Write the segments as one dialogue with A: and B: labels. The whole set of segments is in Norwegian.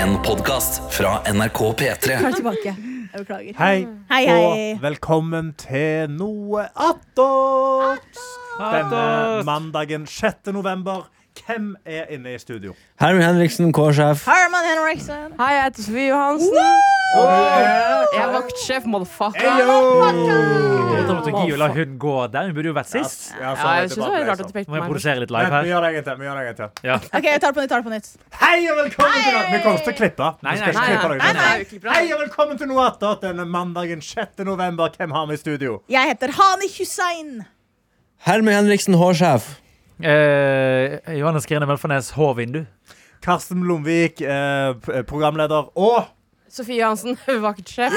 A: En podcast fra NRK P3
B: Jeg er tilbake. Jeg beklager.
C: Hei,
B: Hei, hei.
C: og velkommen til Noe attåt!
D: eh,
C: Denne mandagen 6. november. Hvem er inne i studio?
E: Herman Henriksen, K-sjef.
B: Herman Henriksen.
F: Hei, jeg heter Sofie Johansen. Jeg er vaktsjef, motherfucker.
D: Jeg tar at Gio la hun gå der. Hun burde jo vært sist.
C: Ja,
F: Ja, jeg synes det var rart at du pekte
D: Nå liksom. må jeg
F: på meg.
D: produsere litt
C: Vent,
D: live
C: vi
D: her.
C: gjør det en gang til. vi gjør det en gang til.
B: Ok, jeg tar det på nytt. tar det på nytt.
C: Hei og velkommen til noe Vi kommer ikke til å klippe. Vi
D: Nei,
C: skal
D: nei,
C: ikke klippe noe.
F: nei, nei, vi klipper det.
C: Hei og velkommen til Noe attåt denne mandagen 6. november. Hvem har vi i studio?
B: Jeg heter Hani Hussein.
E: Herman Henriksen, H-sjef.
D: Eh, Johannes Grine Mølfernes H-vindu.
C: Karsten Blomvik, eh, p- programleder. Og
F: Sofie Johansen, vaktsjef.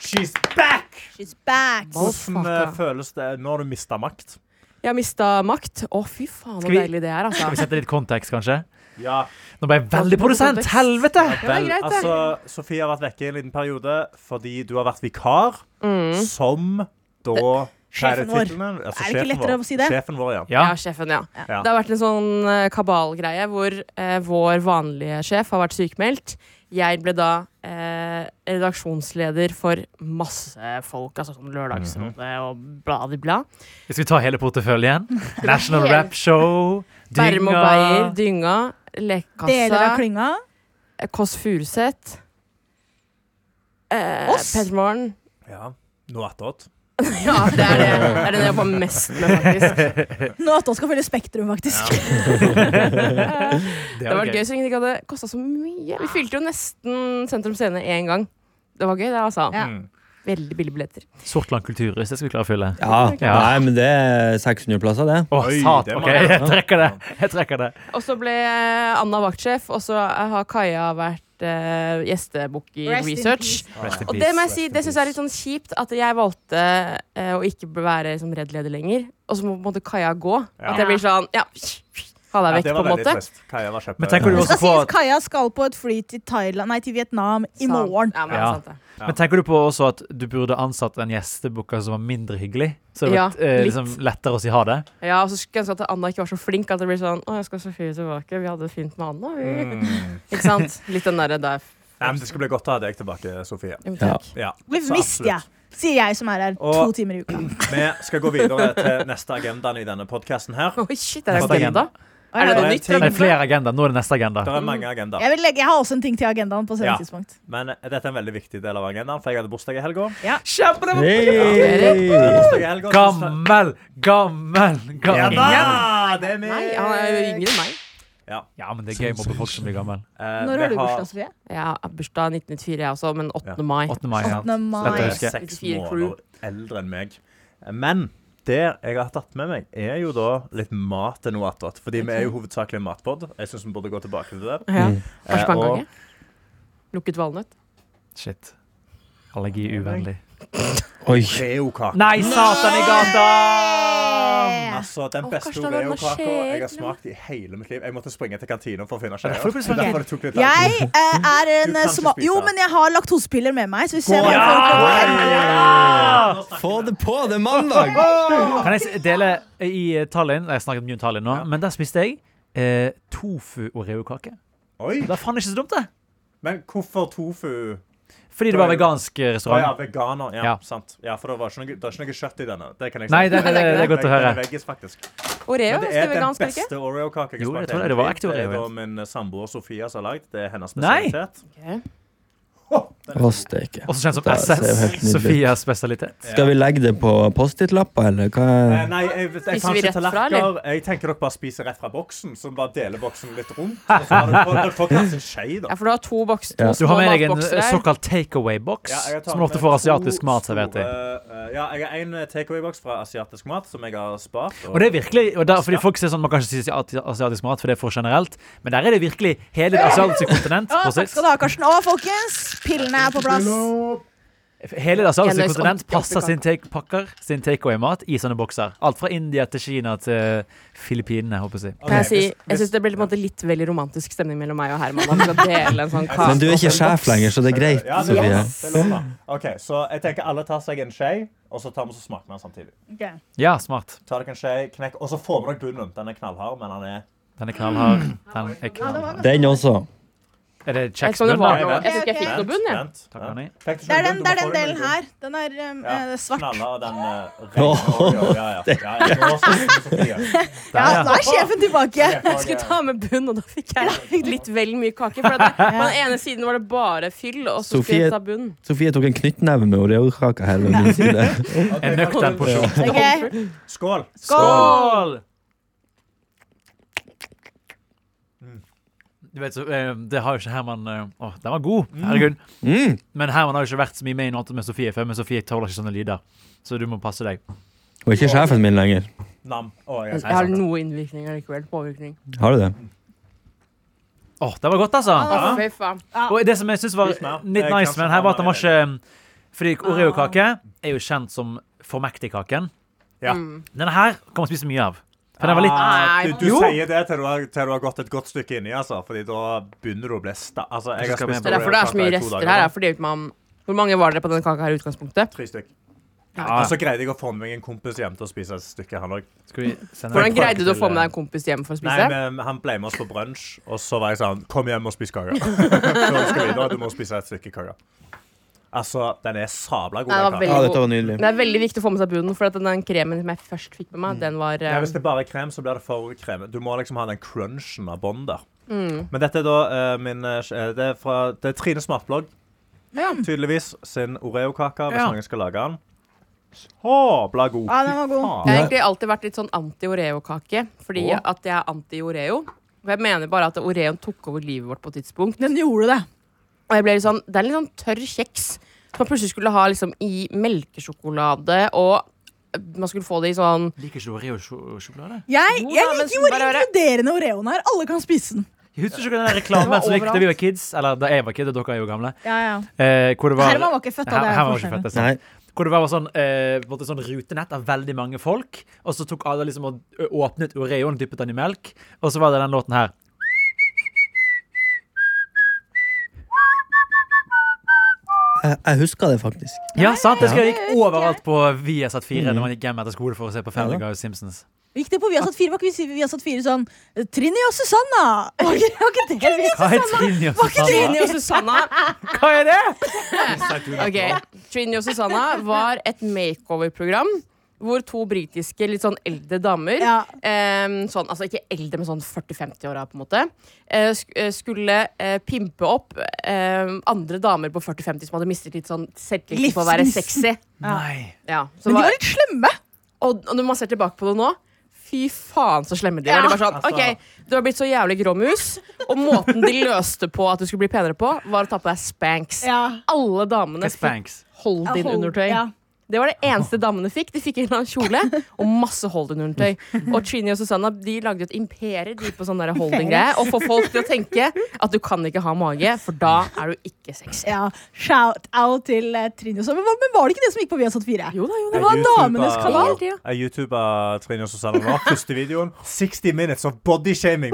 C: She's back!
B: She's back.
C: Hvordan eh,
F: Motherfucker.
C: føles det når du mista makt?
F: Jeg har mista makt. Å, fy faen, så
D: vi-
F: deilig det
D: Skal
F: er,
D: vi
F: altså.
D: sette litt kontekst, kanskje?
C: Ja.
D: Nå ble jeg veldig produsent! Helvete!
F: Det var greit, det.
C: Altså, Sofie har vært vekke i en liten periode fordi du har vært vikar
F: Mm.
C: som da Hva
B: Eh, Sjefen vår.
C: tittelen? Altså,
B: Er det ikke
C: sjefen
B: lettere
C: vår.
B: å si det?
C: Sjefen vår, ja.
D: Ja.
F: Ja, sjefen, ja.
C: Ja.
F: Det har vært en sånn eh, kabalgreie hvor eh, vår vanlige sjef har vært sykemeldt. Jeg ble da eh, redaksjonsleder for masse folk, altså sånn Lørdagsrådet
D: Mhm.
F: og bla-di-bla.
D: Skal vi ta hele porteføljen? National Rap Show.
F: Bærum og
D: Dynga.
F: Beyer, Dynga,
B: Deler av
F: Lekekassa,
B: klynga.
F: Eh, Kåss Furuseth. Eh,
B: Oss?
F: Petter Morgen.
C: ja. Noe attåt.
F: Ja, det er det. Det er den jeg jobber mest med, faktisk.
B: Nå at hun skal følge Spektrum, faktisk.
D: Det
F: Det
D: var
F: var gøy så lenge det ikke hadde kosta så mye. Vi fylte jo nesten Sentrum Scene én gang. Det var gøy, det, altså.
B: Ja.
F: Veldig billige billetter.
D: Mm. Sortland kulturhus, det skal vi klare å fylle.
E: Ja.
D: Ja.
E: Nei, men det er 600 plasser, det.
D: Å,
C: Oi,
D: sat.
C: det var
D: OK,
C: det.
D: jeg trekker det. Jeg trekker det.
F: Og så ble eh, Anna vaktsjef, og så eh, har Kaja vært uh, gjestebukk i
B: Rest in
F: research.
D: Rest in
F: Og det
D: peace.
F: må jeg si, det syns jeg er litt sånn kjipt, at jeg valgte eh, å ikke være liksom, Redd-leder lenger. Og så må på en måte Kaja gå.
C: Ja.
F: At jeg blir sånn ja, ha
C: Ja,
F: deg vekk,
C: det var
F: på en
C: veldig
F: måte.
C: trist. Kaja var kjempe...
D: Men tenker du
B: Det
D: også
B: skal
D: på
B: sies Kaja skal på et fly til, Thailand, nei, til Vietnam i
F: Sant.
B: morgen.
F: Ja, men,
D: Ja.
F: sant det.
D: Men tenker du på også at du burde ansatt en gjestebooker som var mindre hyggelig? Så det
F: Ja,
D: var eh,
F: litt.
D: liksom lettere å si ha det?
F: Ja, og så skulle jeg ønske at Anna ikke var så flink. At det blir sånn Å, jeg skal Sofie tilbake. Vi hadde det fint med Anna, vi.
C: Mm.
F: Ikke sant? Litt den derre der.
C: Nei, men Det skulle bli godt å ha deg tilbake, Sofie.
F: Jo, takk.
C: Ja.
B: Blir
C: Så
B: mist,
C: absolutt.
B: jeg. Sier jeg som er her
C: Og-
B: to timer i uka.
C: Vi skal gå videre til neste agendaen i denne podkasten her.
F: Oi, shit, er det
D: Neste
F: agenda?
B: Er
F: Er det
B: det
F: noe
C: en
F: nytt?
C: ting-
D: Det er flere agendaer. Nå er det neste agenda.
C: Det er mange agendaer.
B: Jeg, vil legge, jeg har også en ting til agendaen på
C: Ja. Eh,
B: senere tidspunkt.
C: Men dette er en veldig viktig del av agendaen, for jeg hadde bursdag i helga.
E: Hey.
C: Bursdag i helga, så-
D: Gammel, gammel,
C: Ja
D: gammel.
C: da! Det er
F: Nei, han er jo
C: meg!
F: yngre enn meg.
D: Ja, men det er gøy med folk som blir gammel.
C: Eh,
B: Når
C: vi
B: har du bursdag, Sofie?
F: Jeg har bursdag 1994, jeg også, men 8.
C: Ja.
F: mai.
D: 8. mai. Ja.
B: 8. mai.
D: Dette
C: Jeg
D: husker
C: er
D: jeg.
C: seks
F: 64 crew.
C: måneder eldre enn meg. Men det jeg har tatt med meg, er jo da litt mat til noe attåt. Fordi vi er jo hovedsakelig en matpod. Jeg syns vi burde gå tilbake til det.
F: Ja.
C: Eh, og-
F: Kanskje pannkake? Lukket valnøtt?
D: Shit. Allergi uvennlig.
E: Oi.
C: Reokake.
D: Nei, satan i gata!
C: Altså, den
F: Å,
C: beste
F: kanskje det hadde vært
C: reokaka
F: skje-
C: jeg har smakt i hele mitt liv. Jeg måtte springe til kantina for å finne skjea.
D: derfor du smaker.
C: Derfor det tok litt
B: Jeg eh, er
C: tid.
B: en
C: Du kan ikke
B: sma...
C: spise
B: Jo,
C: det.
B: men jeg har laktosepiller med meg, så vi ser
C: Gå-
B: hva folk
E: Få det på, det er mandag!
D: Kan jeg s- dele i eh, Tallinn? Jeg snakket mye om Tallinn nå, men der spiste jeg eh, tofu og reokake.
C: Oi,
D: Det er faen ikke så dumt, det.
C: men hvorfor tofu?
D: Fordi det var vegansk
C: Å
D: eh,
C: ja,
D: restaurant.
C: veganer. Ja,
D: Ja.
C: sant. Ja, for det, var ikke noe, det er ikke noe kjøtt i denne. Det kan jeg si.
D: Nei, det, det, det, det er godt å høre.
C: Den er veggis, faktisk.
F: Oreo?
C: Men det er
F: Skal vi
C: den
F: vegansk ikke?
C: beste Oreo-kaka jeg
D: Jo,
C: har
D: jeg
C: smakt.
D: tror det.
C: hele
D: Det var
C: mitt
D: ekte
C: liv. Det er
D: Oreo, ja.
C: da min samboer Sofia som har lagd. Det er hennes
D: Nei!
C: spesialitet.
F: Ok.
E: Å, steike.
D: Også kjent som
E: Det ser jo helt
D: SS.
E: nydelig ut.
D: Sofias spesialitet.
E: Skal vi legge det på Post-It-lapper, eller hva?
C: Eh, Nei, jeg, jeg, jeg
F: Spiser
C: kan
F: vi
C: ikke
F: rett fra,
C: tallerkener. Jeg tenker dere bare spiser rett fra boksen, så bare deler boksen litt rundt. og Så har dere fått- dere får kanskje en sånn skje, da.
F: Ja, for du har to boks, to
E: Ja.
D: Du
F: små
D: har med deg en
F: matbokser
D: eh,
F: her.
D: såkalt takeaway-boks,
C: Ja, jeg tar
D: som du ofte
C: med
D: får
C: to
D: asiatisk mat servert i.
C: store, eh, Ja, jeg har en takeaway-boks fra asiatisk mat som jeg har spart.
D: Og det er virkelig, og der, fordi folk sier sånn, Man kan ikke si asi- asiatisk mat, for det er for generelt. Men der er det virkelig hele det asiatiske kontinent.
B: Å,
D: prosess.
B: takk skal du ha, Karsten. Å, folkens! Pillene er på plass.
D: Hele det asiatiske
F: Enløs
D: kontinent
F: åtti-
D: passer
F: åttikake.
D: sin take, pakker sin takeaway-mat i sånne bokser. Alt fra India til Kina til Filippinene, håper jeg. å si.
F: Kan jeg si,
C: hvis-
F: jeg syns det ble på en måte litt veldig romantisk stemning mellom meg og Herman. At vi skal dele en sånn kake.
E: Men du er ikke sjef lenger, så det er greit,
C: Ja, det er
E: Sofie.
C: lov, det er lov, da. OK, så jeg tenker alle tar seg en skje, og så tar vi og så smaker vi den samtidig.
B: Ok.
D: Ja, smart.
C: Ta dere en skje, knekk, og så får vi dere bunnen. Den er knallhard, men han er
D: Den er knallhard.
B: Mm.
D: Den er knallhard.
E: Den også.
D: Er det
F: Jeg vet ikke om det
D: kjeksbunn,
F: var
D: da?
F: noe. Jeg tror ikke
B: Ok,
F: jeg
B: ok.
F: fikk noe bunn, jeg.
C: Vent,
D: Takk,
C: vent.
D: Arne.
C: Fikk
B: Det
C: du
B: er
C: noe
B: den, det er
C: bunn? Du må
B: den
C: få deg
B: delen
C: noe bunn.
B: her. Den er um,
C: Ja.
B: eh, svart.
C: Knalla og den eh, regner. Ja, ja, ja. ja, jeg må også si Sofie.
D: Der,
B: Ja,
D: ja.
B: nå er sjefen tilbake.
F: Jeg skulle ta med bunn, og da fikk jeg litt vel mye kake. For at det, på den ene siden var det bare fyll, og så skulle
E: Sofie-
F: jeg ta bunn.
E: Sofie tok en knyttneve med oreokake her ved min side.
D: En nøktern porsjon.
B: Ok.
C: Skål.
D: Skål!
B: Mm.
D: Du vet, så, eh, det har jo ikke Herman eh, Å, den var god! Herregud.
E: Mm.
D: Men Herman har jo ikke vært så mye med i Natt med Sofie før, men Sofie tåler ikke sånne lyder. Så du må passe deg.
E: Hun er ikke sjefen min lenger.
C: Nam. Å, jeg
F: Jeg
C: sa
F: har
C: sant.
F: noe innvirkning likevel. Påvirkning.
E: Har du det?
D: Åh, det var godt, altså!
F: Å, fy faen.
D: Og det som jeg synes var
C: Litt mer.
D: litt
C: Eh,
D: nice
C: kanskje
D: med den her, var at den var
C: Herman
D: ikke mm, Fordi
F: Ah.
D: oreokake er jo kjent som formektigkaken.
C: Ja.
D: Denne her kan man spise mye av. For den var litt
C: Ah, Du, du
D: Jo.
C: sier det til du, har, til du har gått et godt stykke inni, altså. Fordi da begynner du å bli sta... Altså, jeg har
D: Skal vi-
C: spist
F: Det er derfor det er så mye rester her. er Fordi man, hvor mange var dere på denne kaka her i utgangspunktet?
C: Tre stykk.
D: Ja.
C: Og så greide jeg å få med meg en kompis hjem til å spise et stykke, han òg.
D: Skal vi sende
F: Hvordan
D: den?
F: greide du å få med deg en eh, kompis hjem for å
C: Nei,
F: spise?
C: men han ble med oss på brunsj, og så var jeg sånn Kom hjem og spis kake. Nå skal vi videre, du må spise et stykke kake. Altså, den er sabla god,
F: Nei, det
C: den
F: var
C: kaka.
F: veldig-
E: Ja, dette var nydelig.
F: Det er veldig viktig å få med seg bunnen, for at den kremen som jeg først fikk med meg, den var
C: Ja,
F: eh,
C: hvis det bare er krem, så blir det for krem. Du må liksom ha den crunchen av bånd der. Men dette er da eh, min eh, det, er fra, det er Trine Smartblogg. Tydeligvis sin Oreo-kake, hvis
D: Ja.
C: noen skal lage den. Sabla god.
B: Ja, den var god.
F: Jeg har
E: Ja.
F: egentlig alltid vært litt sånn anti-Oreo-kake, fordi
C: Åh.
F: at jeg er anti-Oreo. Og jeg mener bare at Oreoen tok over livet vårt på et tidspunkt.
B: Den gjorde det.
F: Og jeg ble litt sånn, det er en litt sånn tørr kjeks som man plutselig skulle ha liksom i melkesjokolade, og man skulle få det i sånn
D: Liker ikke du Oreo-sjokolade?
B: Jeg,
F: Jo da,
B: jeg
F: men
B: liker
F: så
B: jo den
F: bare-
B: inkluderende Oreoen her. Alle kan spise den.
D: Jeg husker ikke den der reklamen
F: Det var
D: som gikk da
F: overalt.
D: vi var kids, eller da jeg var kid, og dere er jo gamle.
B: Ja, ja.
D: Eh, hvor det var,
B: Herman var ikke født, da.
D: Her-
B: Det er
D: Herman var ikke altså.
B: forskjellen.
D: født, det er sant.
E: Nei.
D: Hvor det var sånn, eh, på en måte sånn rutenett av veldig mange folk, og så tok alle liksom og ø- åpnet Oreoen, dyppet den i melk, og så var det den låten her.
E: Jeg, jeg husker det faktisk.
D: Ja, sant? Det skulle jeg gikk overalt på Viasat4 når man gikk hjem etter skole for å se på Family
E: Mm. Ja da.
D: Guy og Simpsons.
B: Gikk det på Viasat 4? Var ikke vi, si- Viasat 4 sånn Trini og Susanna! Var ikke, var ikke det vi
D: Hva er Trini og Susanne?
F: Trini og Susanna.
D: Hva er det?
F: Ok, Trini og Susanna var et makeover-program hvor to britiske litt sånn eldre damer
B: Ja.
F: em, sånn, Altså ikke eldre, men sånn 40-50-åra, på en måte. eh, sk eh, skulle eh, pimpe opp em, andre damer på 40-50 som hadde mistet litt sånn selvtillit på å være
B: Livsgnisten.
F: sexy.
D: Nei.
F: Ja, så
B: Men de
F: var,
B: var litt slemme.
F: og, og når man ser tilbake på det nå Fy faen, så slemme de
B: Ja.
F: var. De var sånn, ok, Du har blitt så jævlig grå mus, og måten de løste på at du skulle bli penere på, var å ta på deg spanks. Alle damene
D: Hva er
F: fikk
D: Spanx?
F: Hold in undertøy.
B: Ja.
F: Det var det eneste damene fikk. De fikk en eller annen kjole og masse hold in undertøy. Og Trini og Susanna de lagde et imperium de på sånn holding-greie. Og får folk til å tenke at du kan ikke ha mage, for da er du ikke sexy.
B: ja. Shout-out til eh, Trini og Susanna. Men, hva- men var det ikke det som gikk på Viasat 4?
F: Jo da, jo
B: Det
F: da.
B: var
C: Jeg
B: damenes
C: YouTuber-
B: kanal.
F: Hele tida.
C: Jeg YouTuba Trine og Susanne nå. Første videoen. 60 minutes of bodyshaming.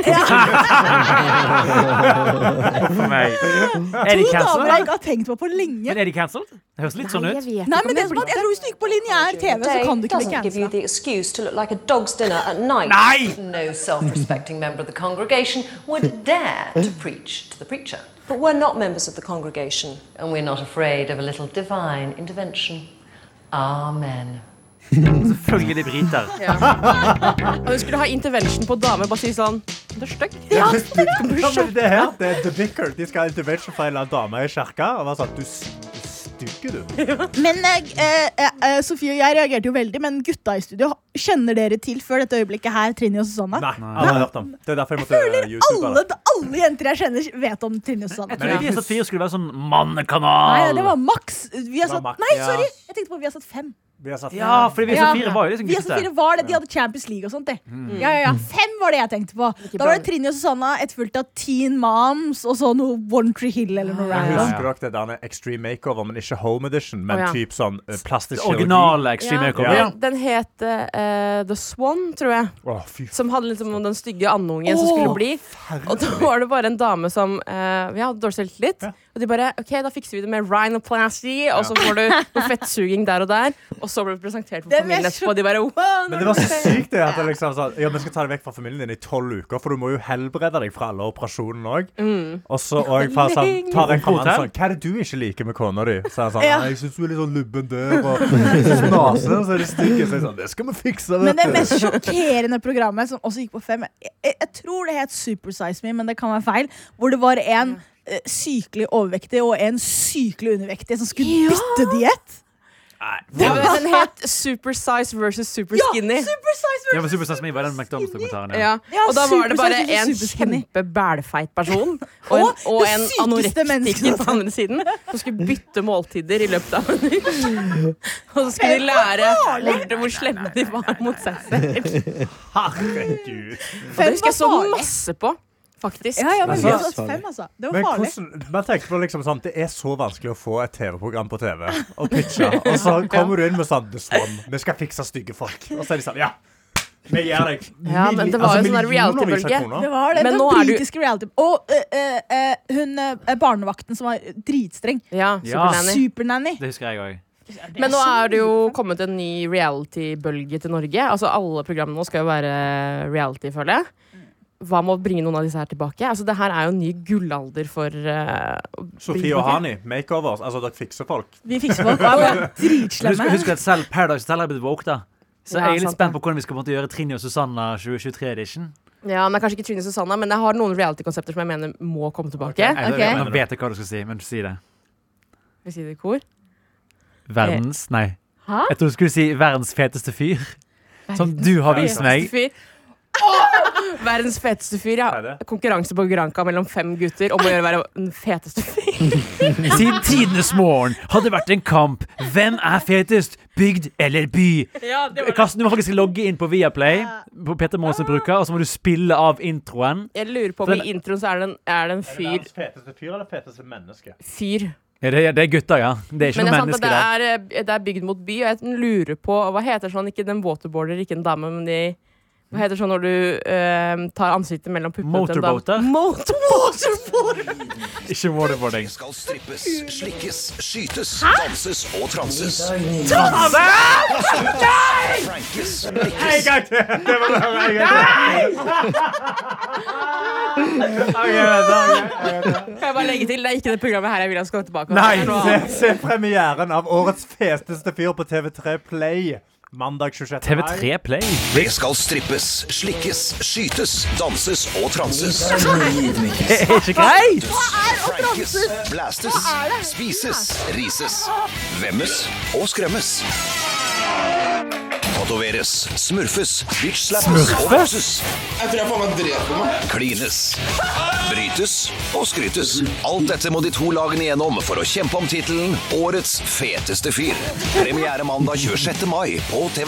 D: For meg. Er
B: To damer
D: de
B: jeg
D: cancelled?
B: ikke har tenkt på på lenge.
D: Men er de cancelled? Det høres litt sånn ut.
B: Nei, men det er som at jeg tror Hvis du gikk på lineær TV, så
G: Day
B: kan du ikke bli
G: doesn't give you
B: cancella.
G: the excuse to look like a dog's dinner at night.
D: Night.
G: No self-respecting member of the congregation would dare to preach to the preacher. But we're not members of the congregation, and we're not afraid of a little divine intervention. Amen.
D: Selvfølgelig briter.
F: Og hun skulle ha intervention på damer. Bare si sånn Du er stygg.
C: Ja, men det her, det er The Vicar. De skal ha intervention fra en eller annen dame i kirka. Og var sånn, du s- du stygge, du.
B: Men eh, eh, eh, Sofie og jeg reagerte jo veldig, men gutta i studio, kjenner dere til før dette øyeblikket her Trini og Susanna?
C: Nei, aldri hørt om. Det er derfor jeg måtte eh, YouTube
B: Alle,
C: det.
B: alle jenter jeg kjenner, vet om Trini og Susanne.
D: Men Viasat 4 skulle være sånn
B: Nei,
D: mannekanal.
B: det var maks. Vi har
C: Det var
B: satt,
C: maks,
B: nei,
C: ja.
B: sorry! Jeg tenkte på at vi har satt fem.
C: Vi har satt
D: Ja, fordi Viasat 4 var jo liksom
B: Vi har satt fire
D: guttete.
B: var det, De hadde Champions League og sånt. Det.
C: Mm.
B: Ja, ja, ja. Fem var det jeg tenkte på. Da var det Trini og Susanna, et fullt av Teen Moms og så noe One Tree Hill eller noe
C: Jeg
B: random.
C: Husker dere det der med Extreme Makeover, men ikke Home Edition, men
F: Å, ja.
C: typ sånn eh, plastisk kirurgi?
D: Originale Extreme Makeover.
C: Ja.
F: Den, den het eh, The Swan, tror jeg.
C: Å, fy f-
F: Som hadde liksom om den stygge andungen som skulle bli. Og da var det bare en dame som eh, ja, hadde dårlig selvtillit. Og de bare OK, da fikser vi det med rhinoplasty, og så får du noe fettsuging der og der. Og så blir du presentert for
B: Det er
F: familien
B: mest-
F: etterpå, og de bare wow,
C: Men det var så sykt det at det liksom sånn Ja, vi skal ta deg vekk fra familien din i tolv uker, for du må jo helbrede deg fra alle operasjonene òg.
F: Mm.
C: Og så og fra sånn, tar jeg fra mannen sånn Hva er det du ikke liker med kona di? Så er han sånn
B: Ja.
C: «Nei, Jeg syns du er litt sånn lubben der, og snasen, og så er det stygge. Så jeg sånn Det skal vi fikse,
B: Men
C: vet
B: det
C: du.
B: mest sjokkerende programmet, som også gikk på fem Jeg, jeg, jeg tror det het Supersize Me, men det kan være feil. Hvor det var en eh, sykelig overvektig og en sykelig undervektig som skulle bytte diett.
F: Det var den het Supersize versus Super Skinny.
B: Supersize
D: Ja, men Superstars Me var den McDonald's-dokumentaren. Ja.
F: Ja. Og da var det bare
B: Supersize versus
F: en
B: Superskinny.
F: kjempebælfeit person og en,
B: Og
F: og
B: det
F: en
B: sykeste
F: anorektiker
B: mennesket.
F: på andre siden som skulle bytte måltider i løpet av en uke. Og så skulle de lære hvor, hvor slemme de var mot seg selv.
C: Herregud.
B: Fem
F: Og det husker jeg så
B: var farlig.
F: masse på, faktisk.
B: Ja, ja, men
C: Altså-
B: vi hadde hatt fem, altså. Det var
C: Men
B: farlig.
C: hvordan, man tenker på liksom sånn, Det er så vanskelig å få et TV-program på TV og pitche, og så kommer du inn med sånn The Swan, vi skal fikse stygge folk. Og så er de sånn Ja, vi gir deg
F: Ja, men det var jo sånn der
C: millionervis av
F: reality-bølge.
C: kroner.
B: Det var det.
F: Men
B: den
F: nå er du-
B: britiske reality Og eh, eh, eh, hun eh, barnevakten som var dritstreng.
F: Ja,
D: Ja.
F: Supernanny.
B: Supernanny.
D: Det husker jeg òg.
F: Ah. Men nå er det jo kommet en ny reality-bølge til Norge. Altså Alle programmene nå skal jo være reality, føler jeg. Hva med å bringe noen av disse her tilbake? Altså Det her er jo en ny gullalder for eh, å
C: Sofie
F: bringe
C: og
F: tilbake.
C: Hani, makeovers. Altså, dere fikser folk.
B: Vi fikser folk. Og er
D: Husk,
B: Dritslemme.
D: husk at selv Paradise Hotel er blitt woke, da. Så
F: Ja,
D: jeg er litt
F: sant
D: spent
F: det.
D: på hvordan vi skal på en måte gjøre Trine og Susanna 2023-edition.
F: Ja, men det er Kanskje ikke Trine Susanna, men jeg har noen reality-konsepter som jeg mener må komme tilbake.
C: Ok.
B: Ok.
D: Nå vet jeg hva du skal si, men si det.
F: Vi sier det i kor.
D: Verdens Nei.
F: Eh. Hæ?
D: Jeg trodde du skulle si verdens feteste fyr. Som du har vist meg.
F: Fyr. Verdens feteste
C: Er
F: fyr, ja.
C: det?
F: Konkurranse på Granca mellom fem gutter om å gjøre å være den feteste fyr.
D: Siden tidenes morgen har det vært en kamp. Hvem er fetest? Bygd eller by?
F: Ja, det Ah. var det.
D: Karsten, du må faktisk logge inn på Viaplay, på Peter Måsen bruker, og så må du spille av introen.
F: Jeg lurer på om i introen så er det en, er det en fyr.
C: feteste fyr eller feteste menneske?
F: fyr.
D: Ja, det, er- det er gutter, ja. Det er ikke noe
F: Men det er sant at
D: menneske
F: det
D: der.
F: er, eh, det er bygd mot by, og jeg lurer på Hva heter sånn, ikke den waterboarder, ikke en dame, men de Hva heter sånn når du eh, tar ansiktet mellom puppene til en dame?
D: Motorboater?
F: Motor- Motorboater!
D: Ikke waterboarding.
A: Skal strippes, slikkes, skytes, danses og transes. Transe! Nei!
C: En gang til! Det var det, en gang til. Ok, vent, ok, ok.
F: Kan jeg bare legge til, det er ikke det programmet her jeg vil han skal gå tilbake Det er noe
C: Nei,
F: annet.
C: se, se premieren av årets feteste fyr på TV3 Play mandag 26. mai.
D: TV3 Play.
H: Det skal strippes, slikkes, skytes, danses og transes.
D: Er ikke greit!
H: Prankes, blastes, spises, rises, vemmes og skremmes. Tatoveres, smurfes, bitch-slappes og vokses. Klines. Brytes og skrytes. Alt dette må de to lagene gjennom for å kjempe om tittelen Årets feteste fyr. Premiere mandag 26. mai på TV.